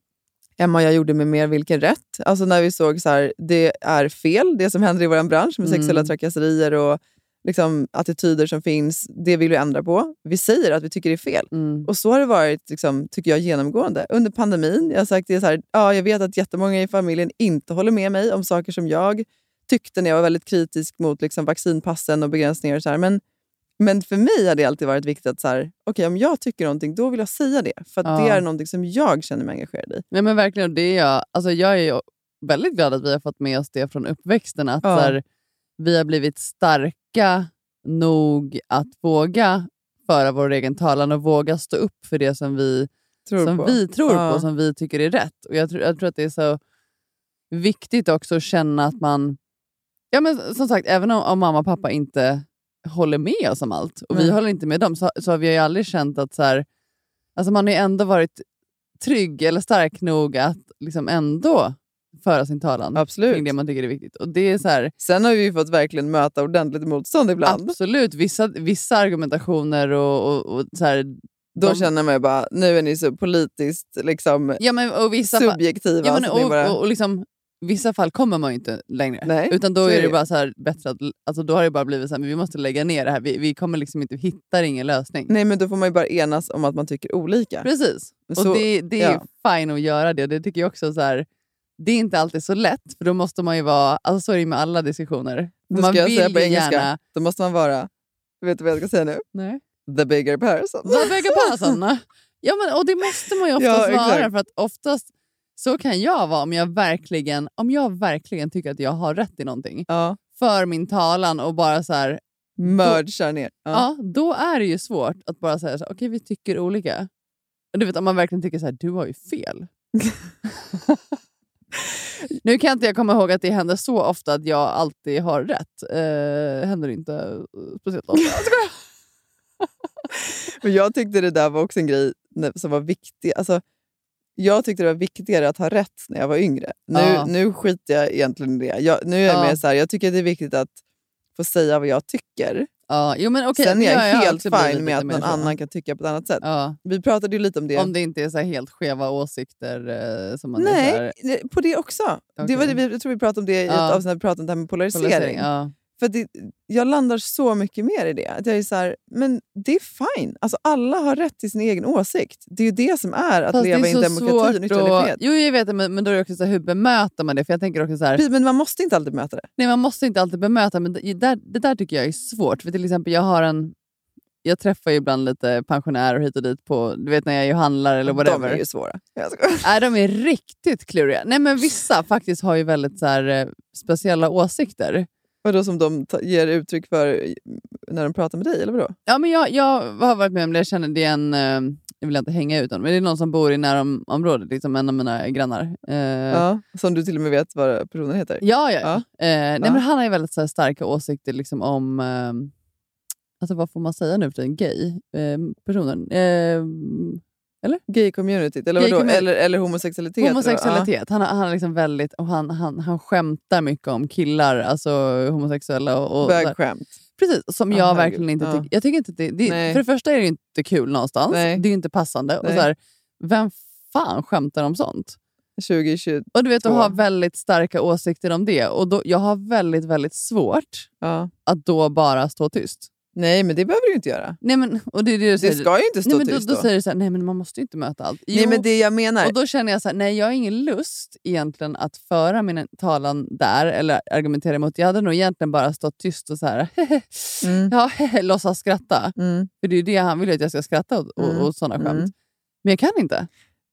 Speaker 1: Emma och jag gjorde med mer vilken rätt. Alltså när vi såg så här, det är fel det som händer i vår bransch med
Speaker 2: Mm.
Speaker 1: sexuella trakasserier och liksom, attityder som finns. Det vill vi ändra på. Vi säger att vi tycker det är fel.
Speaker 2: Mm.
Speaker 1: Och så har det varit liksom, tycker jag, genomgående. Under pandemin, jag har sagt det är så här, ja, jag vet att jättemånga i familjen inte håller med mig om saker som jag tyckte när jag var väldigt kritisk mot liksom, vaccinpassen och begränsningar. Och så här. Men, men för mig har det alltid varit viktigt att så här, okej, om jag tycker någonting, då vill jag säga det. För att det
Speaker 2: Ja.
Speaker 1: är någonting som jag känner mig engagerad i.
Speaker 2: Nej, men verkligen, och det är jag, alltså, jag är ju väldigt glad att vi har fått med oss det från uppväxten. Att
Speaker 1: Ja.
Speaker 2: så här, vi har blivit starka nog att våga föra vår egen talan och våga stå upp för det som vi
Speaker 1: Tror
Speaker 2: som
Speaker 1: på.
Speaker 2: vi tror
Speaker 1: Ja.
Speaker 2: på, som vi tycker är rätt. Och jag, tror, jag tror att det är så viktigt också att känna att man... Ja, men som sagt, även om, om mamma och pappa inte håller med oss om allt, och vi
Speaker 1: Nej.
Speaker 2: håller inte med dem, så, så har vi ju aldrig känt att så här, alltså man har ju ändå varit trygg eller stark nog att liksom ändå föra sin talan kring
Speaker 1: Absolut.
Speaker 2: det man tycker är viktigt. Och det är så här,
Speaker 1: Sen har vi ju fått verkligen möta ordentligt motstånd ibland.
Speaker 2: absolut, vissa, vissa argumentationer och, och, och så här,
Speaker 1: Då
Speaker 2: de-
Speaker 1: känner man ju bara, nu är ni så politiskt liksom,
Speaker 2: ja, men, och vissa fa-
Speaker 1: subjektiva.
Speaker 2: Ja, men,
Speaker 1: så alltså, det är
Speaker 2: och,
Speaker 1: bara,
Speaker 2: och, och liksom, vissa fall kommer man ju inte längre.
Speaker 1: Nej,
Speaker 2: Utan då
Speaker 1: så
Speaker 2: är
Speaker 1: är
Speaker 2: det
Speaker 1: det.
Speaker 2: bara så här, bättre att, alltså, då har det bara blivit så här, men vi måste lägga ner det här. Vi, vi kommer liksom inte, vi hittar ingen lösning.
Speaker 1: Nej, men då får man ju bara enas om att man tycker olika.
Speaker 2: Precis. Och
Speaker 1: Så-
Speaker 2: det, det är ju
Speaker 1: ja.
Speaker 2: fine att göra det. Det tycker jag också så här, det är inte alltid så lätt, för då måste man ju vara, alltså så är det ju med alla diskussioner.
Speaker 1: Då
Speaker 2: man
Speaker 1: ska jag säga
Speaker 2: ju
Speaker 1: på engelska.
Speaker 2: Gärna,
Speaker 1: Då måste man vara, vet du vad jag ska säga nu?
Speaker 2: nej.
Speaker 1: The bigger person.
Speaker 2: Vad väger Persson? [LAUGHS] Ja, men, och det måste man ju oftast
Speaker 1: Ja, exakt.
Speaker 2: vara, för att oftast så kan jag vara om jag verkligen, om jag verkligen tycker att jag har rätt i någonting.
Speaker 1: Ja,
Speaker 2: för min talan och bara så här,
Speaker 1: mördar ner. Ja.
Speaker 2: ja. då är det ju svårt att bara säga så här, okej vi tycker olika. Och Du vet om man verkligen tycker så här, du har ju fel.
Speaker 1: [LAUGHS]
Speaker 2: nu kan inte jag komma ihåg att det händer så ofta att jag alltid har rätt. Eh, händer inte eh, speciellt ofta.
Speaker 1: [LAUGHS] Men jag tyckte det där var också en grej när- som var viktig. Alltså, jag tyckte det var viktigare att ha rätt när jag var yngre. Nu,
Speaker 2: Ja.
Speaker 1: nu skiter jag egentligen i det. Jag, nu är jag
Speaker 2: Ja.
Speaker 1: mer så här, jag tycker det är viktigt att få säga vad jag tycker.
Speaker 2: ja, jo, men okay,
Speaker 1: Sen är jag helt fine med att någon annan kan tycka på ett annat sätt.
Speaker 2: Ja,
Speaker 1: Vi pratade ju lite om det.
Speaker 2: om det inte är så här helt skeva åsikter eh, som man är så här,
Speaker 1: Nej, på det också. Det var
Speaker 2: Okej.
Speaker 1: det vi, jag tror vi pratade om det i ett
Speaker 2: Ja.
Speaker 1: avsnitt när vi pratade om det här med polarisering.
Speaker 2: polarisering. Ja.
Speaker 1: För det, jag landar så mycket mer i det. Att jag är så här, men det är fine. Alltså, alla har rätt till sin egen åsikt. Det är ju det som är att
Speaker 2: Fast det är
Speaker 1: leva i en
Speaker 2: så
Speaker 1: demokrati och en
Speaker 2: svårt
Speaker 1: yttrandefrihet.
Speaker 2: att- Jo, jag vet det, men, men då är det också så här, hur bemöter man det? För jag tänker också så här,
Speaker 1: Precis, Men man måste inte alltid möta det.
Speaker 2: Nej, man måste inte alltid bemöta, men det där, det där tycker jag är svårt. För till exempel, jag har en... Jag träffar ju ibland lite pensionärer hit och dit på, du vet när jag är och handlar eller
Speaker 1: De
Speaker 2: whatever.
Speaker 1: är ju svåra. Jag skojar.
Speaker 2: Nej, de är riktigt kluriga. Nej, men vissa faktiskt har ju väldigt så här, eh, speciella åsikter.
Speaker 1: Vadå som de ta- ger uttryck för när de pratar med dig? Eller vadå?
Speaker 2: Ja, men jag, jag har varit med om det. Jag känner det är en, eh, jag vill inte hänga ut honom, men det är någon som bor i närområdet, liksom en av mina grannar. Eh,
Speaker 1: Ja, som du till och med vet vad personen heter.
Speaker 2: Ja, ja. ja.
Speaker 1: Ja.
Speaker 2: Eh, nej,
Speaker 1: Ja.
Speaker 2: Men han har ju väldigt så här, starka åsikter liksom, om... Eh, alltså, vad får man säga nu för en gay eh, personen? Eh,
Speaker 1: Gay-communityt eller, vadå?
Speaker 2: Gay-community.
Speaker 1: eller, eller homosexualitet? eller vad?
Speaker 2: homosexualitet. Han, har- han, är liksom väldigt, och han, han, han skämtar mycket om killar, alltså homosexuella. Och,
Speaker 1: Ja,
Speaker 2: och, så här.
Speaker 1: Bögskämt.
Speaker 2: precis, som
Speaker 1: Ja,
Speaker 2: jag
Speaker 1: herregud.
Speaker 2: verkligen inte
Speaker 1: Ja.
Speaker 2: tycker. Jag tycker inte att det, det,
Speaker 1: Nej.
Speaker 2: för det första är det ju inte kul någonstans.
Speaker 1: Nej.
Speaker 2: Det är ju inte passande. Och
Speaker 1: Nej.
Speaker 2: så här, vem fan skämtar om sånt?
Speaker 1: 2020.
Speaker 2: Och du vet, att
Speaker 1: Två.
Speaker 2: ha väldigt starka åsikter om det. Och då, Jag har väldigt, väldigt svårt
Speaker 1: Ja.
Speaker 2: att då bara stå tyst.
Speaker 1: Nej, men det behöver du ju inte göra.
Speaker 2: Nej, men, och det är det du
Speaker 1: Det
Speaker 2: säger.
Speaker 1: ska ju inte stå
Speaker 2: nej, men då,
Speaker 1: tyst
Speaker 2: då säger du så här, nej men man måste ju inte möta allt.
Speaker 1: Nej, men det jag menar.
Speaker 2: Och då känner jag så här, nej jag har ingen lust egentligen att föra min talan där eller argumentera emot. Jag hade nog egentligen bara stått tyst och så här, [LAUGHS]
Speaker 1: Mm.
Speaker 2: ja, [LAUGHS] låtsas skratta.
Speaker 1: Mm.
Speaker 2: För det är ju det han vill ju att jag ska skratta åt och,
Speaker 1: Mm.
Speaker 2: och sådana skämt.
Speaker 1: Mm.
Speaker 2: Men jag kan inte.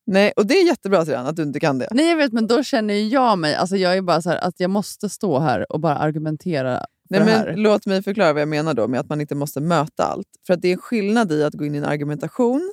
Speaker 1: Nej, och det är jättebra Sirhan, att du inte kan det.
Speaker 2: Nej jag vet men då känner ju jag mig, alltså jag är bara så här att jag måste stå här och bara argumentera för
Speaker 1: Nej,
Speaker 2: det här.
Speaker 1: men låt mig förklara vad jag menar då med att man inte måste möta allt. För att det är en skillnad i att gå in i en argumentation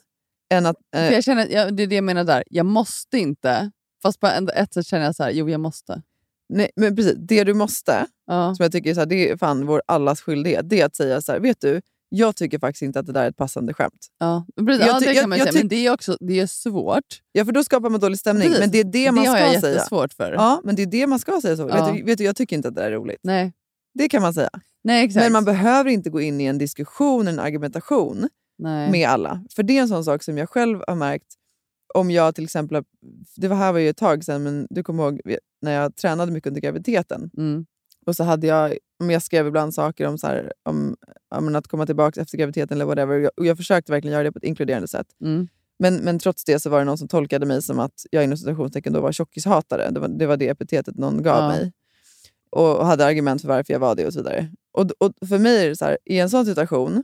Speaker 1: än att... Eh,
Speaker 2: För jag känner, jag, det är det jag menar där, jag måste inte. Fast på ändå ett sätt känner jag så här, jo jag måste.
Speaker 1: nej, men precis, det du måste,
Speaker 2: Ja.
Speaker 1: som jag tycker är, så här, det är fan vår allas skyldighet, det är att säga så här, vet du, jag tycker faktiskt inte att det där är ett passande skämt.
Speaker 2: Ja, precis.
Speaker 1: Jag
Speaker 2: ja
Speaker 1: ty-
Speaker 2: det
Speaker 1: jag-
Speaker 2: kan man ju
Speaker 1: jag
Speaker 2: säga. Men
Speaker 1: tyck-
Speaker 2: det är också det är svårt.
Speaker 1: Ja, för då skapar man dålig stämning.
Speaker 2: Precis.
Speaker 1: Men det är det man
Speaker 2: har
Speaker 1: ska
Speaker 2: jag
Speaker 1: säga.
Speaker 2: jättesvårt för.
Speaker 1: Ja, men det är det man ska säga. Så.
Speaker 2: Ja.
Speaker 1: Vet, du, vet du, jag tycker inte att det där är roligt.
Speaker 2: Nej.
Speaker 1: Det kan man säga.
Speaker 2: Nej, exakt.
Speaker 1: Men man behöver inte gå in i en diskussion, en argumentation
Speaker 2: Nej.
Speaker 1: med alla. För det är en sån sak som jag själv har märkt om jag till exempel, har- det var här var ju ett tag sedan, men du kommer ihåg när jag tränade mycket under graviditeten.
Speaker 2: Mm.
Speaker 1: Och så hade jag, men jag skrev ibland saker om, så här, om, om att komma tillbaka efter graviditeten eller whatever. Och Jag, och jag försökte verkligen göra det på ett inkluderande sätt.
Speaker 2: Mm.
Speaker 1: Men, men trots det så var det någon som tolkade mig som att jag inom citationstecken då var tjockishatare. Det var, det var det epitetet någon gav
Speaker 2: Ja.
Speaker 1: mig. Och, och hade argument för varför jag var det och så vidare. Och, och för mig är det så här, i en sån situation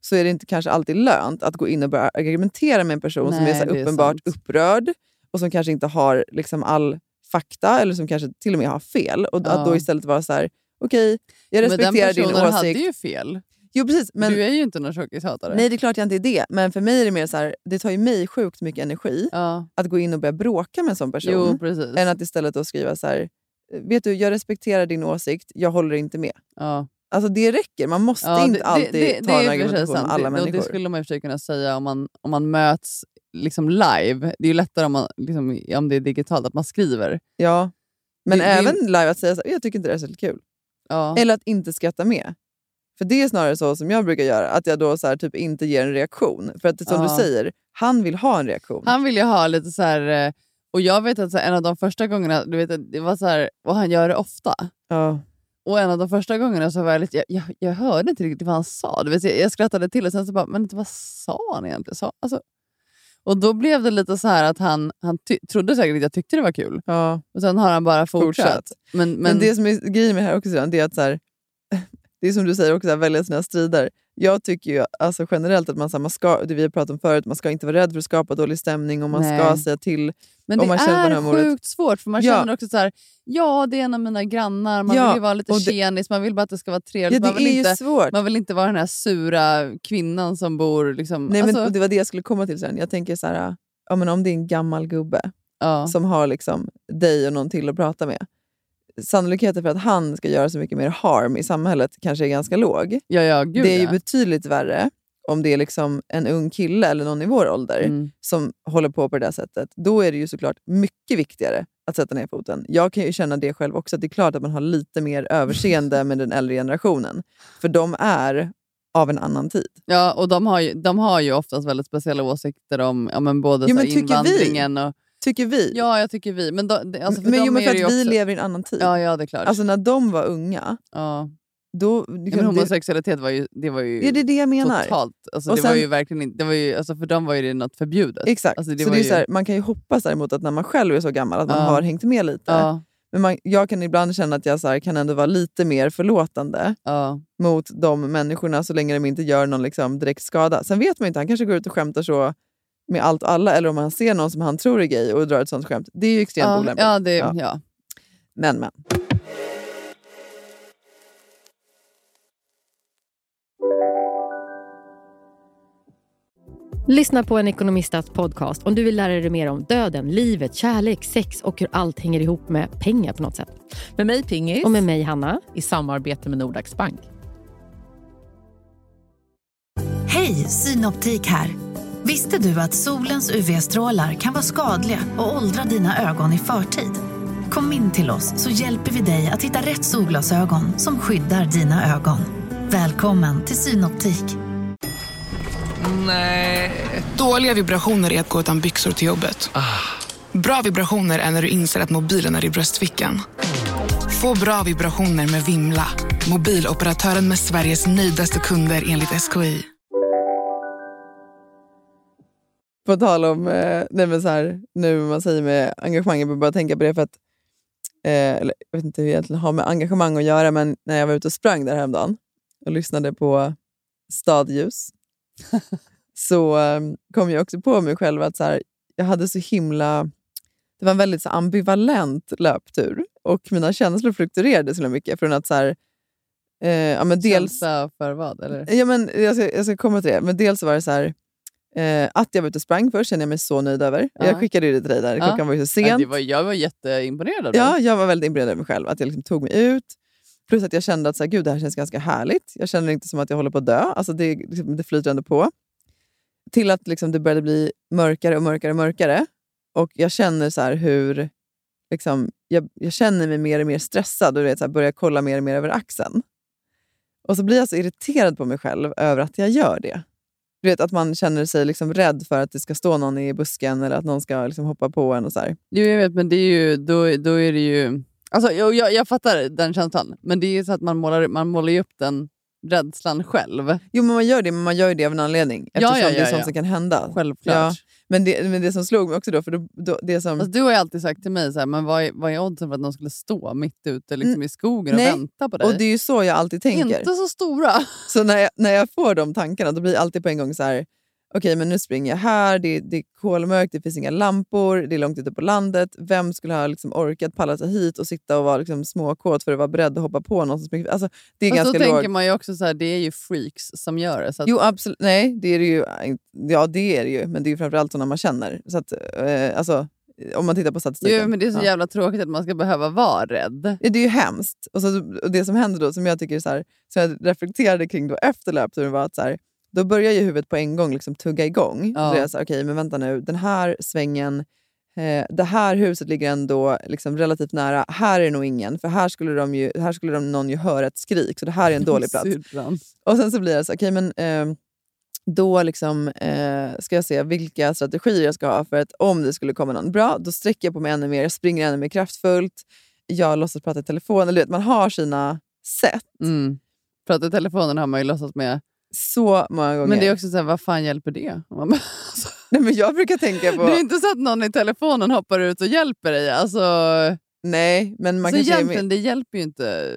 Speaker 1: så är det inte kanske alltid lönt att gå in och börja argumentera med en person som är,
Speaker 2: Nej,
Speaker 1: så här,
Speaker 2: det är
Speaker 1: uppenbart
Speaker 2: sant.
Speaker 1: upprörd och som kanske inte har liksom all fakta eller som kanske till och med har fel. Och
Speaker 2: Ja.
Speaker 1: att då istället vara så här, okej, jag
Speaker 2: Men den
Speaker 1: respekterar din
Speaker 2: personen
Speaker 1: åsikt.
Speaker 2: hade ju fel.
Speaker 1: Jo, precis. Men,
Speaker 2: du är ju inte någon tjockishatare.
Speaker 1: nej, det är klart jag inte är det. Men för mig är det mer så här, det tar ju mig sjukt mycket energi
Speaker 2: Ja.
Speaker 1: att gå in och börja bråka med en sån person.
Speaker 2: Jo, precis.
Speaker 1: än att istället då skriva så här, vet du, jag respekterar din åsikt, jag håller inte med.
Speaker 2: ja.
Speaker 1: Alltså det räcker, man måste
Speaker 2: Ja,
Speaker 1: inte alltid ta
Speaker 2: är
Speaker 1: en
Speaker 2: i och för sig
Speaker 1: argumentation med
Speaker 2: sant.
Speaker 1: alla
Speaker 2: Det- och
Speaker 1: människor.
Speaker 2: Det skulle man i och för sig kunna säga om man, om man möts liksom live. Det är ju lättare om, man, liksom, om det är digitalt, att man skriver.
Speaker 1: Ja. Men
Speaker 2: Det- det-
Speaker 1: även live att säga så här, jag tycker inte det är särskilt kul.
Speaker 2: Ja.
Speaker 1: Eller att inte skratta med. För det är snarare så som jag brukar göra, att jag då så här, typ inte ger en reaktion. För att som
Speaker 2: Ja.
Speaker 1: du säger, han vill ha en reaktion.
Speaker 2: Han vill ju ha lite så här... eh, Och jag vet att så här, en av de första gångerna, du vet, det var så här, och han gör det ofta.
Speaker 1: Ja.
Speaker 2: Och en av de första gångerna så var jag lite, jag, jag, jag hörde inte riktigt vad han sa. Du vet, jag, jag skrattade till och sen så bara, men vad sa han egentligen? Sa, alltså, och då blev det lite så här att han, han ty- trodde säkert att jag tyckte det var kul.
Speaker 1: ja.
Speaker 2: Och sen har han bara fortsatt.
Speaker 1: Fortsatt.
Speaker 2: Men, men,
Speaker 1: Men, det som är grejen med det här också, Susanne, det är att så här, [LAUGHS] det är som du säger också, att välja sina strider. Jag tycker ju alltså generellt att man, så här, man ska, det vi har pratat om förut, man ska inte vara rädd för att skapa dålig stämning och man ska
Speaker 2: Nej.
Speaker 1: säga till.
Speaker 2: Men
Speaker 1: Om
Speaker 2: det
Speaker 1: man känner på det här
Speaker 2: är
Speaker 1: mordet.
Speaker 2: sjukt svårt, för man
Speaker 1: Ja.
Speaker 2: känner också så här, ja det är en av mina grannar, man
Speaker 1: Ja,
Speaker 2: vill ju vara lite
Speaker 1: och det-
Speaker 2: tjenis, man vill bara att det ska vara
Speaker 1: Ja,
Speaker 2: trevligt.
Speaker 1: det
Speaker 2: man, vill
Speaker 1: är
Speaker 2: inte,
Speaker 1: ju svårt.
Speaker 2: man vill inte vara den här sura kvinnan som bor liksom...
Speaker 1: Nej, men,
Speaker 2: alltså,
Speaker 1: och det var det jag skulle komma till sen. Jag tänker så här, ja, men om det är en gammal gubbe
Speaker 2: ja,
Speaker 1: som har liksom dig och någon till att prata med. Sannolikheten för att han ska göra så mycket mer harm i samhället kanske är ganska låg.
Speaker 2: ja, ja, gud
Speaker 1: det är ju
Speaker 2: ja.
Speaker 1: betydligt värre om det är liksom en ung kille eller någon i vår ålder.
Speaker 2: Mm.
Speaker 1: som håller på på det där sättet, då är det ju såklart mycket viktigare att sätta ner foten. Jag kan ju känna det själv också, att det är klart att man har lite mer överseende med den äldre generationen. För de är av en annan tid.
Speaker 2: Ja, och de har, ju, de har ju oftast väldigt speciella åsikter om ja, men både
Speaker 1: Jo,
Speaker 2: så här
Speaker 1: men tycker vi?
Speaker 2: invandringen och...
Speaker 1: Tycker vi.
Speaker 2: Ja, jag tycker vi. Men, då, det- alltså, för
Speaker 1: men
Speaker 2: dem
Speaker 1: jo, men
Speaker 2: är
Speaker 1: för
Speaker 2: det
Speaker 1: att vi
Speaker 2: ju också,
Speaker 1: lever i en annan tid.
Speaker 2: Ja, ja, det är klart.
Speaker 1: Alltså när de var unga,
Speaker 2: ja.
Speaker 1: då...
Speaker 2: Ja, men
Speaker 1: det,
Speaker 2: homosexualitet var ju, det var ju
Speaker 1: ja, det är det jag menar.
Speaker 2: totalt... Alltså,
Speaker 1: Och
Speaker 2: det var
Speaker 1: sen-
Speaker 2: ju verkligen inte, det var ju, alltså, för dem var ju det något förbjudet.
Speaker 1: Exakt.
Speaker 2: Alltså, det
Speaker 1: så
Speaker 2: var
Speaker 1: det är
Speaker 2: ju-
Speaker 1: så här, man kan ju hoppas däremot att när man själv är så gammal att man
Speaker 2: Ja.
Speaker 1: har hängt med lite.
Speaker 2: Ja,
Speaker 1: Men man, jag kan ibland känna att jag så här, kan ändå vara lite mer förlåtande.
Speaker 2: ja.
Speaker 1: mot de människorna så länge de inte gör någon liksom direkt skada. Sen vet man inte, han kanske går ut och skämtar så med allt och alla eller om han ser någon som han tror är gay och drar ett sånt skämt. Det är ju extremt
Speaker 2: ja,
Speaker 1: olämpligt.
Speaker 2: ja, det,
Speaker 1: Ja.
Speaker 2: ja.
Speaker 1: Men, men.
Speaker 5: Lyssna på en ekonomistats podcast om du vill lära dig mer om döden, livet, kärlek, sex och hur allt hänger ihop med pengar på något sätt.
Speaker 6: Med mig Pingis
Speaker 5: Och med mig, Hanna.
Speaker 6: i samarbete med Nordax Bank.
Speaker 7: Hej, Synoptik här. Visste du att solens UV-strålar kan vara skadliga och åldra dina ögon i förtid? Kom in till oss så hjälper vi dig att hitta rätt solglasögon som skyddar dina ögon. Välkommen till Synoptik.
Speaker 8: Nej. Dåliga vibrationer är att gå utan byxor till jobbet. Bra vibrationer är när du inser att mobilen är i bröstfickan. Få bra vibrationer med Vimla. Mobiloperatören med Sveriges nöjdaste kunder enligt SKI.
Speaker 1: På tal om eh, nej men så här, nu man säger med engagemang, jag behöver bara tänka på det för att eh, eller, jag vet inte hur det egentligen har med engagemang att göra, men när jag var ute och sprang där häromdagen och lyssnade på stadljus så eh, kom jag också på mig själv att så här, jag hade så himla... Det var en väldigt så ambivalent löptur och mina känslor fluktuerade så himla mycket. Från att så här, eh, ja, men dels,
Speaker 2: Känsla för vad? Eller?
Speaker 1: Ja, men jag, ska, jag ska komma till det. Men dels så var det så här, eh, att jag var ute och sprang först kände jag mig så nöjd över.
Speaker 2: Ja.
Speaker 1: Jag skickade ju det till dig där,
Speaker 2: Ja.
Speaker 1: klockan var ju så
Speaker 2: Ja, det
Speaker 1: sent.
Speaker 2: var, jag var jätteimponerad av
Speaker 1: Ja,
Speaker 2: dig.
Speaker 1: jag var väldigt imponerad över mig själv, att jag liksom tog mig ut. Plus att jag kände att så här, Gud, det här känns ganska härligt. Jag känner inte som att jag håller på att dö. Alltså det, liksom, det flyter ändå på. Till att liksom, det började bli mörkare och mörkare och mörkare. Och jag känner så här hur... Liksom, jag, jag känner mig mer och mer stressad och du vet, så här, börjar kolla mer och mer över axeln. Och så blir jag så irriterad på mig själv över att jag gör det. Du vet, att man känner sig liksom rädd för att det ska stå någon i busken eller att någon ska liksom hoppa på en. och så här.
Speaker 2: Jo, jag vet, men det är ju, då, då är det ju... Alltså, jag, jag, jag fattar den känslan, men det är ju så att man målar, man målar ju upp den rädslan själv.
Speaker 1: Jo, men man gör det, men man gör ju det av en anledning.
Speaker 2: Ja, ja,
Speaker 1: Eftersom det är
Speaker 2: ja,
Speaker 1: sånt
Speaker 2: ja.
Speaker 1: som kan hända.
Speaker 2: Självklart.
Speaker 1: Ja. Men det, men det som slog mig också då, för då, då, det som...
Speaker 2: Alltså, du har ju alltid sagt till mig, så här, men vad, är, vad är oddsen för att någon skulle stå mitt ute liksom, i skogen och
Speaker 1: Mm. Nej.
Speaker 2: vänta på dig?
Speaker 1: och det är ju så jag alltid tänker.
Speaker 2: Inte så [LAUGHS] stora. Alltså,
Speaker 1: Så när jag, när jag får de tankarna då blir jag alltid på en gång så här, okej men nu springer jag här, det, det är kolmörkt, det finns inga lampor, det är långt ute på landet. Vem skulle ha liksom orkat palla sig hit och sitta och vara liksom småkåt för att vara beredd att hoppa på någon som springer? Alltså, det är
Speaker 2: Fast då
Speaker 1: ganska lågt.
Speaker 2: tänker man ju också så här, det är ju freaks som gör det. Så att,
Speaker 1: Jo, absolut. Nej, det är det ju. äh, Ja, det är det ju. Men det är ju framförallt sådana man känner. Så att, eh, alltså, om man tittar på statistiken.
Speaker 2: jo, men det är så
Speaker 1: Ja.
Speaker 2: jävla tråkigt att man ska behöva vara rädd.
Speaker 1: Ja, det är ju hemskt. Och, så, och det som händer då, som jag tycker är så här, som jag reflekterade kring då efter löpturen var att så här, då börjar ju huvudet på en gång liksom tugga igång.
Speaker 2: Ja.
Speaker 1: Då är jag så här, okej, men vänta nu, den här svängen, eh, det här huset ligger ändå liksom relativt nära. Här är det nog ingen, för här skulle, de ju, här skulle de, någon ju höra ett skrik, så
Speaker 2: [LAUGHS]
Speaker 1: det här är en dålig plats.
Speaker 2: Syrran.
Speaker 1: Och sen så blir jag så här, okej men ehm, då liksom, eh, ska jag se vilka strategier jag ska ha för att om det skulle komma någon bra, då sträcker jag på mig ännu mer, jag springer ännu mer kraftfullt, jag låtsas prata i telefon. Eller, du vet, man har sina sätt
Speaker 2: Mm. Prata i telefonen har man ju låtsats med.
Speaker 1: så många gånger.
Speaker 2: Men det är också så här, vad fan hjälper det? Man bara-
Speaker 1: [LAUGHS] Nej, men jag brukar tänka på...
Speaker 2: Det är inte så att någon i telefonen hoppar ut och hjälper dig. Alltså,
Speaker 1: Nej, men man
Speaker 2: så
Speaker 1: kan säga,
Speaker 2: egentligen, det hjälper ju inte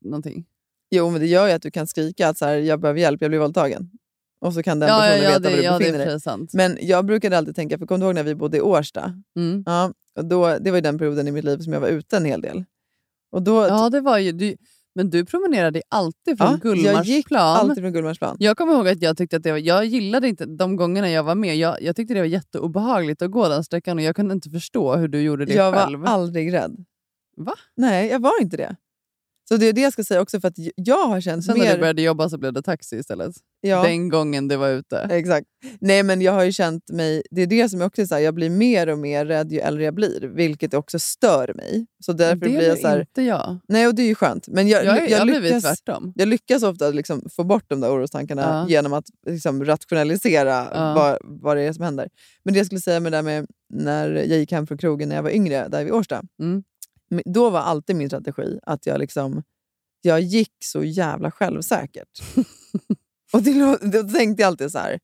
Speaker 2: någonting.
Speaker 1: jo, men det gör ju att du kan skrika att så här, jag behöver hjälp, jag blir våldtagen. Och så kan den
Speaker 2: Ja, ja,
Speaker 1: personen
Speaker 2: ja,
Speaker 1: veta
Speaker 2: det,
Speaker 1: var du
Speaker 2: ja, det
Speaker 1: befinner
Speaker 2: är
Speaker 1: dig.
Speaker 2: precis sant.
Speaker 1: Men jag brukade alltid tänka, för kom du ihåg när vi bodde i Årsta?
Speaker 2: Mm.
Speaker 1: Ja, och då, det var ju den perioden i mitt liv som jag var ute en hel del. Och då
Speaker 2: Ja, det var ju, du, men du promenerade alltid från
Speaker 1: Ja, jag gick
Speaker 2: Gullmarsplan.
Speaker 1: Alltid från Gullmarsplan.
Speaker 2: Jag kommer ihåg att jag tyckte att det var, jag gillade inte de gångerna jag var med. Jag, jag tyckte det var jätteobehagligt att gå den sträckan och jag kunde inte förstå hur du gjorde det
Speaker 1: Jag
Speaker 2: själv.
Speaker 1: var aldrig rädd.
Speaker 2: Va?
Speaker 1: Nej, jag var inte det. Så det är det jag ska säga också, för att j- jag har känt
Speaker 2: Sen när
Speaker 1: mer...
Speaker 2: du började jobba så blev det taxi istället.
Speaker 1: ja,
Speaker 2: Den gången du var ute.
Speaker 1: exakt. Nej, men jag har ju känt mig... Det är det som jag också säger, jag blir mer och mer rädd ju äldre jag blir, vilket också stör mig. Så därför
Speaker 2: det
Speaker 1: blir jag så här...
Speaker 2: inte jag.
Speaker 1: Nej, och det är ju skönt. Men jag,
Speaker 2: Jag, är- jag, har blivit
Speaker 1: lyckas...
Speaker 2: tvärtom.
Speaker 1: Jag lyckas ofta liksom få bort de där orostankarna
Speaker 2: Ja.
Speaker 1: genom att liksom rationalisera
Speaker 2: Ja.
Speaker 1: vad, vad det är som händer. Men det jag skulle säga med det där med när jag gick hem från krogen när jag var yngre, där vid Årsta.
Speaker 2: Mm.
Speaker 1: men Då var alltid min strategi att jag, liksom, jag gick så
Speaker 2: [LAUGHS]
Speaker 1: jävla självsäkert. och det, lå- då tänkte jag alltid så här,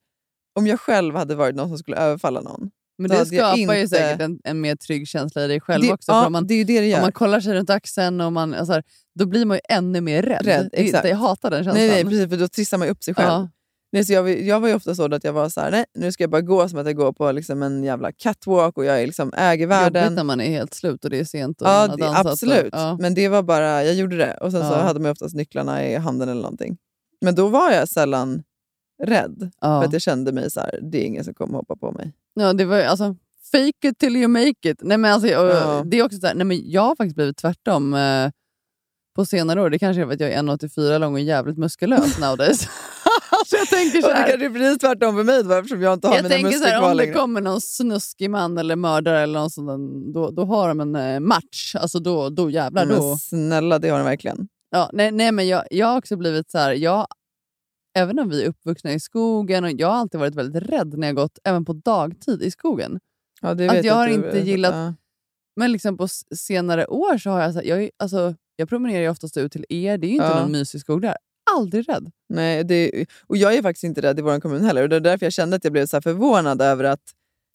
Speaker 1: om jag själv hade varit någon som skulle överfalla någon.
Speaker 2: Men
Speaker 1: Då
Speaker 2: det
Speaker 1: hade jag
Speaker 2: skapar ju
Speaker 1: inte-
Speaker 2: säkert en, en mer trygg känsla i dig själv
Speaker 1: det,
Speaker 2: också. För
Speaker 1: ja,
Speaker 2: om, man,
Speaker 1: det är ju det det
Speaker 2: om
Speaker 1: gör.
Speaker 2: man kollar sig runt axeln och man, alltså, här, då blir man ju ännu mer rädd.
Speaker 1: Rädd,
Speaker 2: Det-
Speaker 1: exakt.
Speaker 2: Jag hatar den känslan.
Speaker 1: Nej, nej, precis, för då trissar man ju upp sig själv.
Speaker 2: ja.
Speaker 1: Nej, så jag, var- jag var ju ofta så då att jag var så här, nej nu ska jag bara gå som att jag går på liksom en jävla catwalk och jag är liksom äger
Speaker 2: Jobbigt
Speaker 1: världen.
Speaker 2: när man är helt slut och det är sent och
Speaker 1: Ja,
Speaker 2: man har
Speaker 1: det,
Speaker 2: dansat. och-
Speaker 1: absolut.
Speaker 2: Ja.
Speaker 1: Men det var bara, jag gjorde det. Och sen så
Speaker 2: Ja.
Speaker 1: hade man ju oftast nycklarna i handen eller någonting. Men då var jag sällan rädd.
Speaker 2: Ja.
Speaker 1: För att jag kände mig så här, det är ingen som kommer hoppa på mig.
Speaker 2: Ja, det var ju- alltså fake it till you make it. Nej, men alltså, och,
Speaker 1: Ja.
Speaker 2: det är också så här, nej, men jag har faktiskt blivit tvärtom eh, på senare år. Det kanske är för att jag är 1,84 lång och jävligt muskulös
Speaker 1: [LAUGHS]
Speaker 2: nowadays. alltså, jag tänker så
Speaker 1: Och det
Speaker 2: här,
Speaker 1: kanske blir tvärtom för mig då, eftersom jag inte har
Speaker 2: jag
Speaker 1: mina
Speaker 2: tänker så här
Speaker 1: muskler kvar
Speaker 2: om det
Speaker 1: längre.
Speaker 2: kommer någon snuskig man eller mördare eller någon sån, då, då har de en eh, match. Alltså då, då jävlar. Då.
Speaker 1: Men snälla, det har den verkligen.
Speaker 2: Ja, nej, nej, men jag, jag har också blivit så här, jag, även om vi är uppvuxna i skogen, och jag har alltid varit väldigt rädd när jag gått, även på dagtid i skogen.
Speaker 1: Ja, det
Speaker 2: Att
Speaker 1: vet
Speaker 2: jag har
Speaker 1: du-
Speaker 2: inte gillat-
Speaker 1: Ja.
Speaker 2: Men liksom på s- senare år så har jag... Så här, jag, är- alltså, jag promenerar ju oftast ut till er. Det är ju inte
Speaker 1: Ja.
Speaker 2: någon mysig skog där. Aldrig rädd.
Speaker 1: Nej, det, och jag är faktiskt inte rädd i vår kommun heller. Och det är därför jag kände att jag blev så här förvånad över att,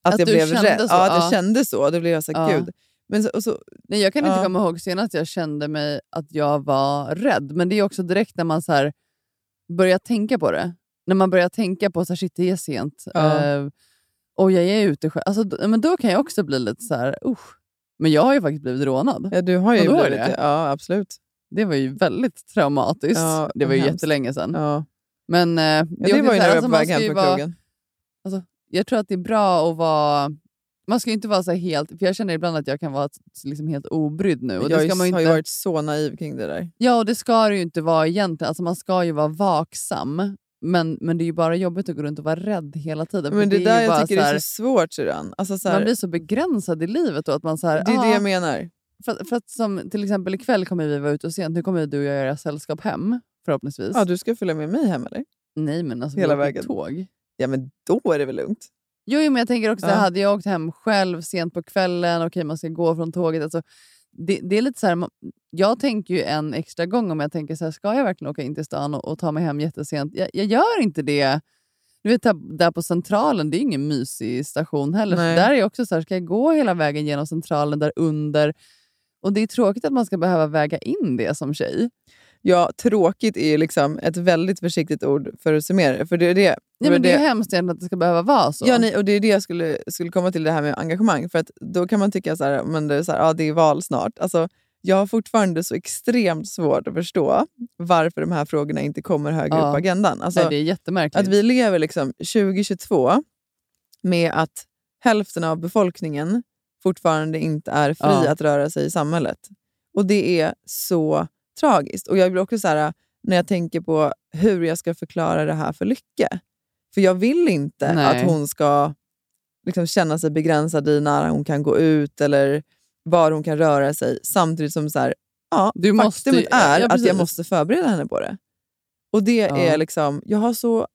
Speaker 1: att,
Speaker 2: Att
Speaker 1: jag
Speaker 2: du
Speaker 1: blev
Speaker 2: kände
Speaker 1: rädd.
Speaker 2: så,
Speaker 1: ja, att
Speaker 2: ja.
Speaker 1: jag kände så. Då blev jag så här,
Speaker 2: Ja.
Speaker 1: gud. Men så, och så,
Speaker 2: Nej, jag kan inte
Speaker 1: Ja.
Speaker 2: komma ihåg senast jag kände mig att jag var rädd. Men det är också direkt när man så här, börjar tänka på det. När man börjar tänka på så här, shit det är sent.
Speaker 1: Ja.
Speaker 2: Eh, och jag är ute själv. Alltså, d- men då kan jag också bli lite så här, usch. Men jag har ju faktiskt blivit rånad.
Speaker 1: ja, du har ju
Speaker 2: Ja, då var
Speaker 1: blivit
Speaker 2: det.
Speaker 1: det. Ja, absolut.
Speaker 2: Det var ju väldigt traumatiskt.
Speaker 1: Ja,
Speaker 2: det var ju
Speaker 1: hemskt.
Speaker 2: jättelänge sedan.
Speaker 1: Ja.
Speaker 2: Men, eh, det
Speaker 1: Ja,
Speaker 2: är
Speaker 1: det
Speaker 2: också
Speaker 1: var ju
Speaker 2: så här,
Speaker 1: när jag var
Speaker 2: alltså,
Speaker 1: på
Speaker 2: man
Speaker 1: väg
Speaker 2: ska
Speaker 1: hem
Speaker 2: ju
Speaker 1: från
Speaker 2: vara-
Speaker 1: krogen.
Speaker 2: jag tror att det är bra att vara... Man ska ju inte vara så här helt... För jag känner ibland att jag kan vara liksom helt obrydd nu. Och
Speaker 1: jag
Speaker 2: det ska man ju
Speaker 1: har
Speaker 2: inte,
Speaker 1: ju varit så naiv kring det där.
Speaker 2: Ja, och det ska det ju inte vara egentligen. Alltså man ska ju vara vaksam. Men, men det är ju bara jobbigt att gå runt och vara rädd hela tiden. för
Speaker 1: Men det,
Speaker 2: är
Speaker 1: där
Speaker 2: ju
Speaker 1: jag
Speaker 2: bara
Speaker 1: tycker
Speaker 2: så
Speaker 1: är
Speaker 2: här-
Speaker 1: så svårt syrran. Alltså, så här,
Speaker 2: Man blir så begränsad i livet då att man så här,
Speaker 1: det är det
Speaker 2: ah,
Speaker 1: jag menar.
Speaker 2: för, att- för att som till exempel ikväll kommer vi vara ute och sent. Nu kommer du och jag göra sällskap hem förhoppningsvis.
Speaker 1: Ja, du ska följa med mig hem eller?
Speaker 2: Nej men alltså
Speaker 1: Hela
Speaker 2: vi åker
Speaker 1: vägen.
Speaker 2: tåg.
Speaker 1: Ja, men då är det väl lugnt.
Speaker 2: Jo, jo, men jag tänker också,
Speaker 1: Ja.
Speaker 2: hade jag åkt hem själv sent på kvällen, okej man ska gå från tåget. Alltså, det, det är lite så här, man- jag tänker ju en extra gång om jag tänker så här, ska jag verkligen åka in till stan och, och ta mig hem jättesent? Jag, jag gör inte det. Du vet, där- där på Centralen, det är ju ingen mysig station heller. Så
Speaker 3: Nej.
Speaker 2: där är jag också så här, ska jag gå hela vägen genom Centralen där under? Och det är tråkigt att man ska behöva väga in det som tjej.
Speaker 1: Ja, tråkigt är ju liksom ett väldigt försiktigt ord för att summera det, för det. Är det
Speaker 2: Ja,
Speaker 1: för
Speaker 2: men det, är ju hemskt egentligen att det ska behöva vara så.
Speaker 1: Ja, nej, och det är det jag skulle, skulle komma till, det här med engagemang. För att då kan man tycka så här, men det, är så här, ja, det är val snart. Alltså, jag har fortfarande så extremt svårt att förstå varför de här frågorna inte kommer högre
Speaker 2: Ja.
Speaker 1: upp på agendan. Alltså,
Speaker 2: nej, det är jättemärkligt.
Speaker 1: att vi lever liksom 2022 med att hälften av befolkningen fortfarande inte är fri
Speaker 2: Ja.
Speaker 1: att röra sig i samhället. Och det är så tragiskt. Och jag blir också så här, när jag tänker på hur jag ska förklara det här för Lycke. För jag vill inte
Speaker 2: Nej.
Speaker 1: att hon ska liksom känna sig begränsad i när hon kan gå ut eller var hon kan röra sig. Samtidigt som så här, ja,
Speaker 2: Du måste ju-
Speaker 1: faktumet är
Speaker 2: ja,
Speaker 1: att
Speaker 2: precis.
Speaker 1: jag måste förbereda henne på det. Och det
Speaker 2: Ja.
Speaker 1: är liksom, jag har så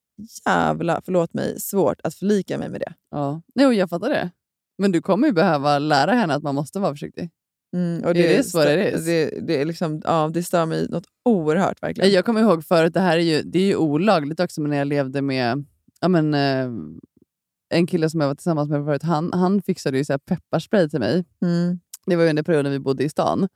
Speaker 1: jävla, förlåt mig, svårt att förlika mig med det.
Speaker 2: Ja. Jo, jag fattar det. Men du kommer ju behöva lära henne att man måste vara försiktig.
Speaker 1: Mm, och
Speaker 2: It is what it is.
Speaker 1: Det, det, är liksom, ja, det stör mig något oerhört verkligen.
Speaker 2: Jag kommer ihåg förut, det här är ju, det är ju olagligt också, men när jag levde med ja, men, eh, en kille som jag var tillsammans med förut, han, han fixade ju så här pepparspray till mig.
Speaker 1: Mm.
Speaker 2: Det var ju under perioden vi bodde i stan.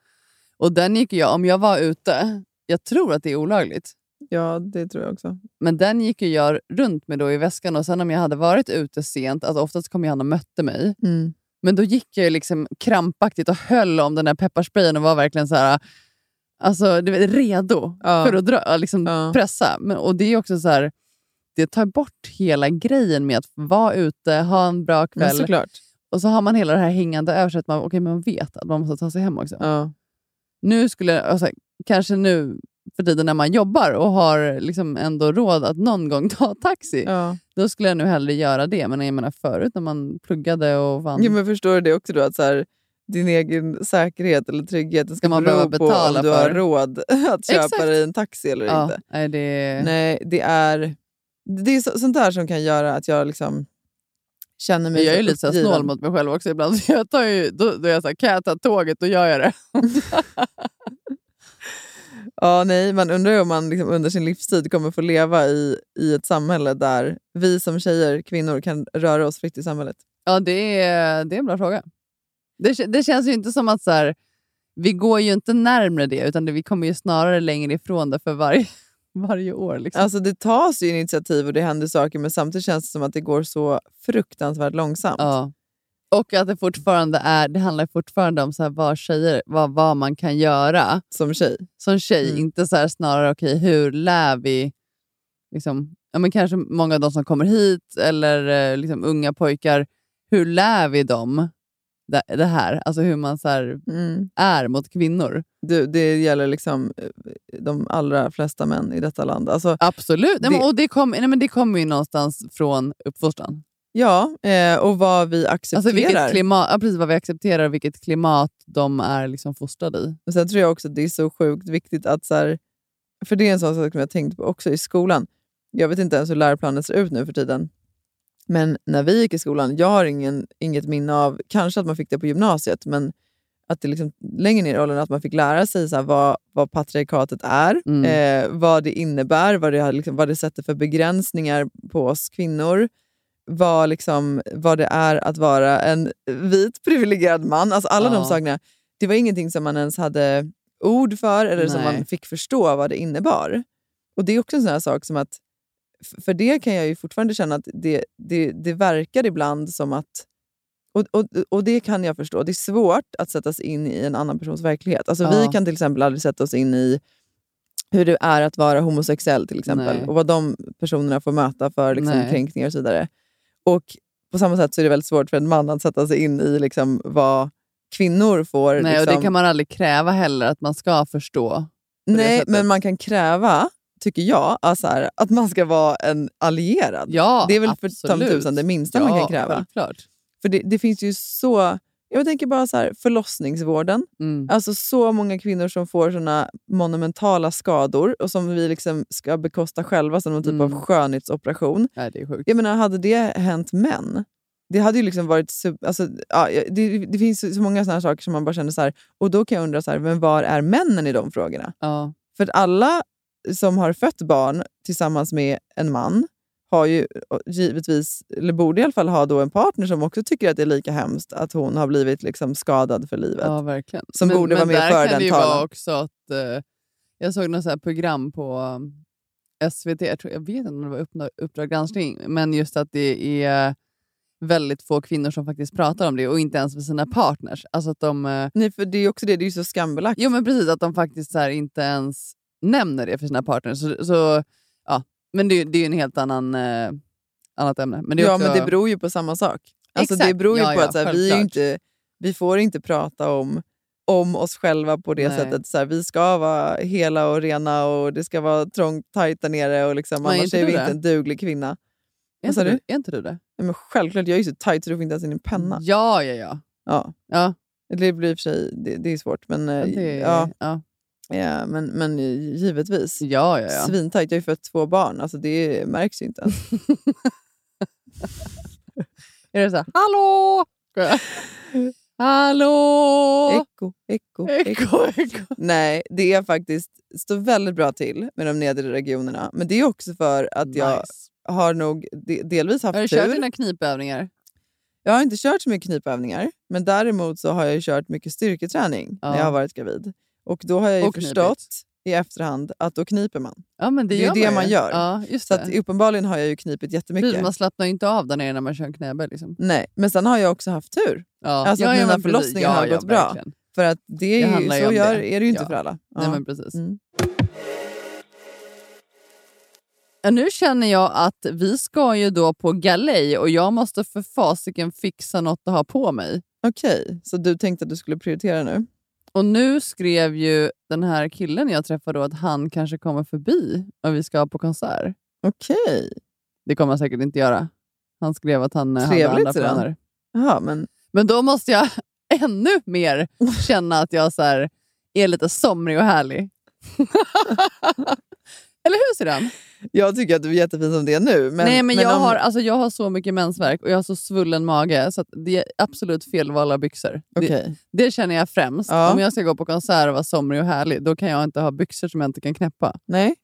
Speaker 2: Och den gick jag, om jag var ute, jag tror att det är olagligt,
Speaker 1: Ja, det tror jag också.
Speaker 2: men den gick ju jag runt med då i väskan och sen om jag hade varit ute sent, alltså oftast kom ju han och mötte mig,
Speaker 1: Mm.
Speaker 2: Men då gick jag ju liksom krampaktigt och höll om den där pepparsprayen och var verkligen så här, alltså, du vet, redo
Speaker 1: Ja.
Speaker 2: för att dra, liksom
Speaker 1: Ja.
Speaker 2: pressa. Men, och det är ju också så här, det tar bort hela grejen med att vara ute, ha en bra
Speaker 1: Men
Speaker 2: kväll.
Speaker 1: såklart.
Speaker 2: och så har man hela det här hängande över sig att man, okay, man vet att man måste ta sig hem också.
Speaker 1: Ja.
Speaker 2: Nu skulle jag- alltså, Kanske nu för tiden när man jobbar och har liksom ändå råd att någon gång ta taxi,
Speaker 1: Ja.
Speaker 2: då skulle jag nu hellre göra det. Men jag menar förut när man pluggade och vann.
Speaker 1: Jo, men förstår du det också då? Att så här, din egen säkerhet eller trygghet den ska
Speaker 2: Ska man
Speaker 1: bero
Speaker 2: behöva
Speaker 1: på om
Speaker 2: betala
Speaker 1: du har
Speaker 2: för?
Speaker 1: råd [LAUGHS] att köpa
Speaker 2: Exakt.
Speaker 1: dig en taxi eller
Speaker 2: ja,
Speaker 1: inte.
Speaker 2: Nej, det...
Speaker 1: Nej, det är, det är så, sånt där som kan göra att jag liksom känner
Speaker 2: Men
Speaker 1: mig
Speaker 2: jag är
Speaker 1: så
Speaker 2: ju lite så här
Speaker 1: uppgiven.
Speaker 2: snål mot mig själv också ibland. [LAUGHS] Så jag tar ju, då, då är jag så här, kan jag ta tåget, då gör jag det.
Speaker 1: Ja, nej, man undrar ju om man liksom under sin livstid kommer få leva i, i ett samhälle där vi som tjejer, kvinnor, kan röra oss fritt i samhället.
Speaker 2: Ja, det är, det är en bra fråga. Det, kä- det känns ju inte som att så här, vi går ju inte närmare det, utan det, vi kommer ju snarare längre ifrån det för varje, [LAUGHS] varje år. Liksom.
Speaker 1: Alltså det tas ju initiativ och det händer saker men samtidigt känns det som att det går så fruktansvärt långsamt.
Speaker 2: Ja. Och att det fortfarande är, det handlar fortfarande om så här, vad, tjejer, vad, vad man kan göra
Speaker 1: Som tjej.
Speaker 2: som tjej.
Speaker 1: Mm.
Speaker 2: Inte så här, snarare, okej, hur lär vi liksom, ja, men kanske många av de som kommer hit eller eh, liksom, unga pojkar, hur lär vi dem det, det här? Alltså hur man så här,
Speaker 1: Mm.
Speaker 2: är mot kvinnor.
Speaker 1: Du, det gäller liksom eh, de allra flesta män i detta land. Alltså,
Speaker 2: Absolut! Nej, men,
Speaker 1: Det-
Speaker 2: och det kommer nej, men det kommer ju någonstans från uppfostran.
Speaker 1: ja, eh, och vad vi accepterar.
Speaker 2: Alltså vilket klimat, ja, precis vad vi accepterar och vilket klimat de är liksom fostrade i.
Speaker 1: Och sen tror jag också att det är så sjukt viktigt att... Så här, för det är en sån sak som jag tänkt på också i skolan. Jag vet inte ens hur läroplanen ser ut nu för tiden. Men när vi gick i skolan, jag har ingen, inget minne av, kanske att man fick det på gymnasiet, men att det liksom, längre ner i åldern att man fick lära sig så här, vad, vad patriarkatet är,
Speaker 2: Mm.
Speaker 1: eh, vad det innebär, vad det, har liksom, vad det sätter för begränsningar på oss kvinnor vad, liksom, vad det är att vara en vit privilegierad man. Alltså alla
Speaker 2: Ja.
Speaker 1: de sakerna. Det var ingenting som man ens hade ord för eller som
Speaker 2: Nej.
Speaker 1: man fick förstå vad det innebar. Och det är också en sån här sak som att, f- för det kan jag ju fortfarande känna att det, det, det verkar ibland som att, och, och, och det kan jag förstå, det är svårt att sätta sig in i en annan persons verklighet. Alltså
Speaker 2: Ja.
Speaker 1: vi kan till exempel aldrig sätta oss in i hur det är att vara homosexuell till exempel
Speaker 2: Nej.
Speaker 1: och vad de personerna får möta för liksom,
Speaker 2: Nej.
Speaker 1: kränkningar och så vidare. Och på samma sätt så är det väldigt svårt för en man att sätta sig in i liksom, vad kvinnor får.
Speaker 2: Nej,
Speaker 1: liksom,
Speaker 2: och det kan man aldrig kräva heller, att man ska förstå. på det
Speaker 1: Nej
Speaker 2: sättet.
Speaker 1: men man kan kräva, tycker jag, alltså här, att man ska vara en allierad.
Speaker 2: Ja,
Speaker 1: det är väl för
Speaker 2: absolut.
Speaker 1: ta mig tusan det minsta man kan kräva.
Speaker 2: Självklart.
Speaker 1: För det, det finns ju så Jag tänker bara så här, förlossningsvården.
Speaker 2: Mm.
Speaker 1: Alltså så många kvinnor som får såna monumentala skador och som vi liksom ska bekosta själva som någon typ
Speaker 2: Mm.
Speaker 1: av skönhetsoperation.
Speaker 2: Nej, det är sjukt.
Speaker 1: Jag menar, hade det hänt män? Det hade ju liksom varit... sub- Alltså, ja, det, det finns så- så många såna här saker som man bara känner så här, och då kan jag undra så här, men var är männen i de frågorna?
Speaker 2: Ja.
Speaker 1: För att alla som har fött barn tillsammans med en man har ju givetvis, eller borde i alla fall ha då en partner som också tycker att det är lika hemskt att hon har blivit liksom skadad för livet.
Speaker 2: Ja, verkligen.
Speaker 1: Som borde vara med och
Speaker 2: där
Speaker 1: föra
Speaker 2: kan
Speaker 1: den
Speaker 2: det ju
Speaker 1: talan.
Speaker 2: vara också att eh, Jag såg något så här program på um, SVT, jag, tror, jag vet inte om det var Uppna- Uppdrag granskning, men just att det är väldigt få kvinnor som faktiskt pratar om det och inte ens med sina partners. Alltså att de, eh,
Speaker 1: Nej, för det är ju också det, det är ju så skambelagt.
Speaker 2: jo men precis, att de faktiskt så här inte ens nämner det för sina partners. Så, så, ja. Men det, är ju- det är ju en helt annan, eh, annat ämne. Men det är
Speaker 1: Ja,
Speaker 2: också,
Speaker 1: men det beror ju på samma sak. Alltså,
Speaker 2: Exakt.
Speaker 1: det beror ju
Speaker 2: Ja,
Speaker 1: på
Speaker 2: ja,
Speaker 1: att så här, vi, är ju
Speaker 2: självklart.
Speaker 1: inte, vi får inte prata om, om oss själva på det
Speaker 2: Nej.
Speaker 1: sättet. Så här, vi ska vara hela och rena och det ska vara trångt, tajt där nere. Och liksom,
Speaker 2: Men är
Speaker 1: annars
Speaker 2: inte
Speaker 1: är
Speaker 2: du
Speaker 1: vi
Speaker 2: det?
Speaker 1: inte en duglig kvinna.
Speaker 2: är,
Speaker 1: vad sa
Speaker 2: inte
Speaker 1: du?
Speaker 2: du, är inte du det?
Speaker 1: Nej, men självklart, jag är ju så tajt så du får inte ens in en penna.
Speaker 2: Ja, ja, ja.
Speaker 1: Ja.
Speaker 2: Mm. Ja.
Speaker 1: Det blir i och för sig det, det är svårt, men, eh,
Speaker 2: Det,
Speaker 1: ja,
Speaker 2: ja.
Speaker 1: ja, men, men eh, givetvis.
Speaker 2: Ja, ja, ja.
Speaker 1: Svintajt. Jag har ju fött två barn, alltså det märks ju inte ens.
Speaker 2: [LAUGHS] Är det så här, hallå? hallå?
Speaker 1: Eko, eko,
Speaker 2: Eko, eko.
Speaker 1: [LAUGHS] Nej, det är faktiskt står väldigt bra till med de nedre regionerna. Men det är också för att jag
Speaker 2: Nice.
Speaker 1: har nog de, delvis haft
Speaker 2: Har du kört
Speaker 1: tur.
Speaker 2: dina knipövningar?
Speaker 1: Jag har inte kört så mycket knipövningar, men däremot så har jag ju kört mycket styrketräning när
Speaker 2: Ja.
Speaker 1: jag har varit gravid. Och då har jag ju
Speaker 2: Och knipit.
Speaker 1: förstått i efterhand att då kniper man.
Speaker 2: Ja, men det,
Speaker 1: Det är
Speaker 2: gör
Speaker 1: det
Speaker 2: ju.
Speaker 1: man gör.
Speaker 2: Ja, just
Speaker 1: Så
Speaker 2: det.
Speaker 1: att, uppenbarligen har jag ju knipit jättemycket.
Speaker 2: Precis, man slappnar ju inte av där nere när man kör en knäböj. Liksom.
Speaker 1: Nej, men sen har jag också haft tur.
Speaker 2: Ja.
Speaker 1: Alltså att
Speaker 2: ja, ja,
Speaker 1: mina
Speaker 2: men precis.
Speaker 1: förlossningar har gått bra.
Speaker 2: verkligen.
Speaker 1: För att det är
Speaker 2: Det
Speaker 1: ju,
Speaker 2: handlar ju
Speaker 1: så
Speaker 2: om
Speaker 1: gör,
Speaker 2: det.
Speaker 1: är det ju inte
Speaker 2: Ja.
Speaker 1: för alla. Ja.
Speaker 2: Nej, men precis.
Speaker 1: Mm.
Speaker 2: Ja, Nu känner jag att vi ska ju då på galej och jag måste för fasiken fixa något att ha på mig.
Speaker 1: Okej, så du tänkte att du skulle prioritera nu?
Speaker 2: Och nu skrev ju den här killen jag träffade då att han kanske kommer förbi om vi ska på konsert.
Speaker 1: Okej.
Speaker 2: Det kommer han säkert inte göra. Han skrev att han eh, hade
Speaker 1: Trevligt,
Speaker 2: andra
Speaker 1: säger han.
Speaker 2: planer.
Speaker 1: Jaha, men
Speaker 2: Men då måste jag [LAUGHS] ännu mer känna att jag så här, är lite somrig och
Speaker 1: [LAUGHS]
Speaker 2: härlig. Eller hur Syrran?
Speaker 1: jag tycker att du är jättefin som det är nu. Men,
Speaker 2: Nej, men, jag,
Speaker 1: om-
Speaker 2: har, alltså, jag har så mycket mensvärk och jag har så svullen mage så att det är absolut fel val av byxor. Det,
Speaker 1: Okej.
Speaker 2: det känner jag främst.
Speaker 1: Ja.
Speaker 2: Om jag ska gå på konsert och vara somrig och härlig, då kan jag inte ha byxor som jag inte kan knäppa.
Speaker 1: Nej,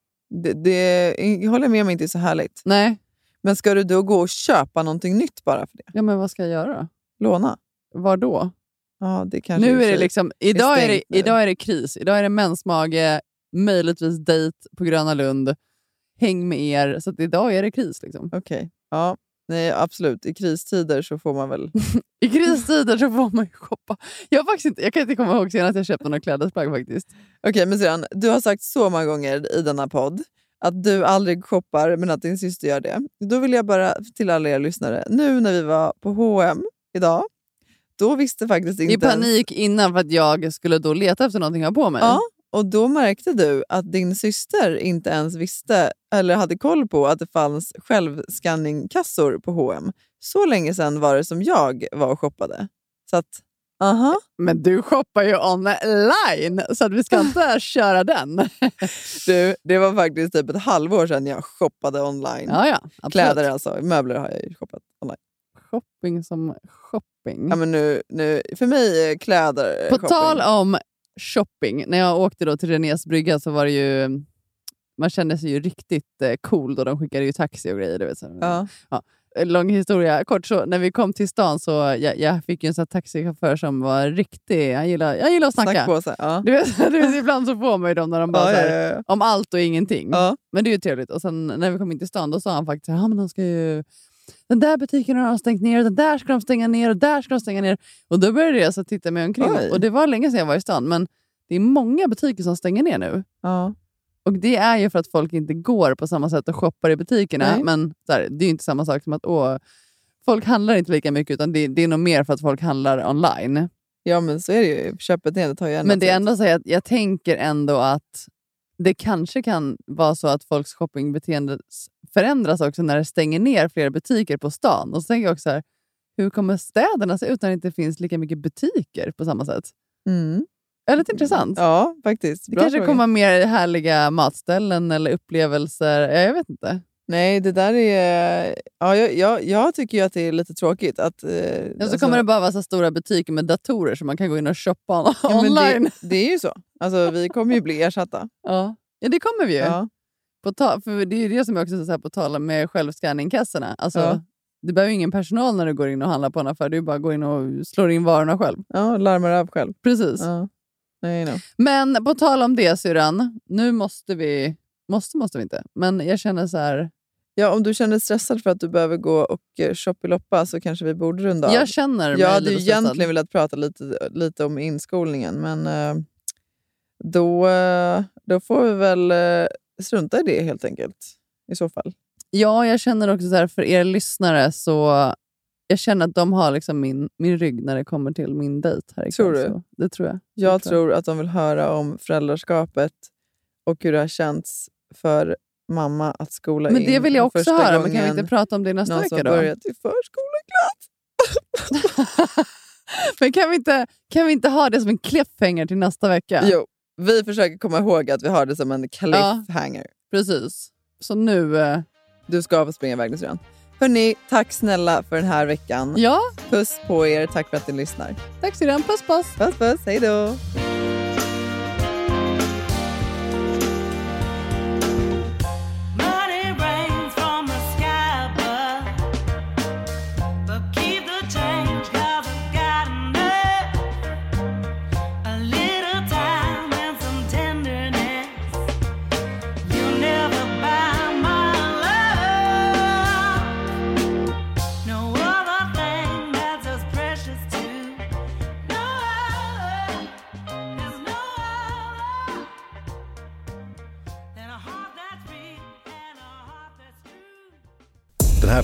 Speaker 1: det, det jag håller med om inte är så härligt.
Speaker 2: Nej,
Speaker 1: Men ska du då gå och köpa någonting nytt bara för det?
Speaker 2: Ja, men vad ska jag göra då?
Speaker 1: Låna?
Speaker 2: Var då?
Speaker 1: Ja, det kanske i och
Speaker 2: Nu
Speaker 1: för
Speaker 2: är det
Speaker 1: sig-
Speaker 2: liksom, idag är det,
Speaker 1: stängt nu.
Speaker 2: idag är det kris. Idag är det mensmage, möjligtvis dejt på Gröna Lund. Häng med er. Så att idag är det kris. Liksom.
Speaker 1: Okej. Ja, nej, absolut. I kristider så får man väl...
Speaker 2: I kristider så får man ju shoppa. Jag, har faktiskt inte, jag kan inte komma ihåg senast jag köpte något klädesplagg faktiskt.
Speaker 1: Okej, men sedan, du har sagt så många gånger i denna podd att du aldrig shoppar men att din syster gör det. Då vill jag bara till alla er lyssnare, nu när vi var på H&M idag, då visste faktiskt inte
Speaker 2: I
Speaker 1: ens-
Speaker 2: panik innan för att jag skulle då leta efter någonting att ha på mig.
Speaker 1: Ja, och då märkte du att din syster inte ens visste eller hade koll på att det fanns självskanningkassor på H&M. Så länge sedan var det som jag var och shoppade. Så att, aha.
Speaker 2: Men du shoppar ju online så att vi ska inte köra den.
Speaker 1: [LAUGHS] Du, det var faktiskt typ ett halvår sedan jag shoppade online.
Speaker 2: Ja, ja. absolut.
Speaker 1: Kläder alltså, möbler har jag ju shoppat online.
Speaker 2: Shopping som shopping.
Speaker 1: Ja, men nu, nu, för mig är kläder
Speaker 2: På
Speaker 1: Eh, shopping.
Speaker 2: tal om shopping, när jag åkte då till Renés brygga så var det ju... Man kände sig ju riktigt eh, cool då de skickade ju taxi och grejer. Du vet, så. här. Eh,
Speaker 1: Ja.
Speaker 2: Lång historia kort, så när vi kom till stan så jag, jag fick ju en sån här taxichaufför som var riktig... Han gillar, jag gillar att snacka.
Speaker 1: Snackpåse, ja.
Speaker 2: Du vet, [LAUGHS] du vet, ibland så får man ju dem när de bara
Speaker 1: Ja,
Speaker 2: så
Speaker 1: ja,
Speaker 2: här,
Speaker 1: ja, ja.
Speaker 2: om allt och ingenting.
Speaker 1: Ja.
Speaker 2: Men det är ju trevligt. Och sen när vi kom in till stan då sa han faktiskt att de ska ju... Den där butiken har de stängt ner, den där ska de stänga ner och där ska de stänga ner. Och då började jag så titta mig omkring.
Speaker 1: Oj.
Speaker 2: Och det var länge sedan jag var i stan, men det är många butiker som stänger ner nu.
Speaker 1: ja.
Speaker 2: Och det är ju för att folk inte går på samma sätt och shoppar i butikerna.
Speaker 1: Nej.
Speaker 2: Men så här, det är ju inte samma sak som att åh, folk handlar inte lika mycket, utan det, det är nog mer för att folk handlar online.
Speaker 1: Ja, men så är det ju. Köpbeteendet har ju ändrats
Speaker 2: Men det är
Speaker 1: helt.
Speaker 2: ändå så här att jag tänker ändå att det kanske kan vara så att folks shoppingbeteende s- förändras också när det stänger ner fler butiker på stan. Och så tänker jag också så här, hur kommer städerna se ut när det inte finns lika mycket butiker på samma sätt?
Speaker 1: Mm.
Speaker 2: Det är lite intressant.
Speaker 1: Ja, faktiskt.
Speaker 2: det
Speaker 1: Bra
Speaker 2: kanske
Speaker 1: fråga.
Speaker 2: kommer mer härliga matställen eller upplevelser. Ja, jag vet inte.
Speaker 1: Nej, det där är... Ja, jag, jag, jag tycker ju att det är lite tråkigt att... Eh,
Speaker 2: Och så
Speaker 1: alltså-
Speaker 2: kommer det bara vara så stora butiker med datorer så man kan gå in och shoppa on-
Speaker 1: Ja, men
Speaker 2: online.
Speaker 1: Det, det är ju så. Alltså, vi kommer ju bli ersatta.
Speaker 2: Ja. [LAUGHS] ja, det kommer vi ju.
Speaker 1: Ja.
Speaker 2: På ta- för det är ju det som jag också så här på tal om med självscanningkassorna. Alltså,
Speaker 1: Ja.
Speaker 2: Du behöver ju ingen personal när du går in och handlar på en affär. Du bara att gå in och slår in varorna själv.
Speaker 1: ja, larmar av själv.
Speaker 2: Precis.
Speaker 1: Ja. Nej, no.
Speaker 2: Men på tal om det syrran, nu måste vi... Måste måste vi inte, men jag känner så här...
Speaker 1: ja, om du känner dig stressad för att du behöver gå och eh, shoppiloppa så kanske vi borde runda av.
Speaker 2: Jag känner mig
Speaker 1: Jag hade ju
Speaker 2: lite stressad.
Speaker 1: egentligen velat prata lite, lite om inskolningen, men eh, då, eh, då får vi väl eh, strunta i det helt enkelt. I så fall.
Speaker 2: Ja, jag känner också så här för er lyssnare så... Jag känner att de har liksom min, min rygg när det kommer till min dejt. Här ikväll,
Speaker 1: Tror du?
Speaker 2: Så, det tror jag. Det
Speaker 1: Jag tror att de vill höra om föräldraskapet och hur det har känts för mamma att skola
Speaker 2: Men
Speaker 1: in
Speaker 2: det vill jag
Speaker 1: för
Speaker 2: också
Speaker 1: första
Speaker 2: höra, men kan vi
Speaker 1: gången
Speaker 2: inte prata om det nästa
Speaker 1: någon som
Speaker 2: vecka då?
Speaker 1: börjat i förskolan.
Speaker 2: [LAUGHS] men kan vi, inte, kan vi inte ha det som en cliffhanger till nästa vecka?
Speaker 1: Jo, vi försöker komma ihåg att vi har det som en cliffhanger.
Speaker 2: Precis. Så nu... eh,
Speaker 1: Du ska få springa iväg nu syrran. Hörni, tack snälla för den här veckan.
Speaker 2: Ja,
Speaker 1: Puss på er, tack för att ni lyssnar.
Speaker 2: tack syrran. Puss puss!
Speaker 1: Puss puss, hej då!
Speaker 9: Money rains from the sky, but but keep the change 'cause I've got enough. A little time and some tenderness. You never buy my love. No other thing that's as precious to no other. There's no other than a heart that's free and a heart that's true.
Speaker 10: Den här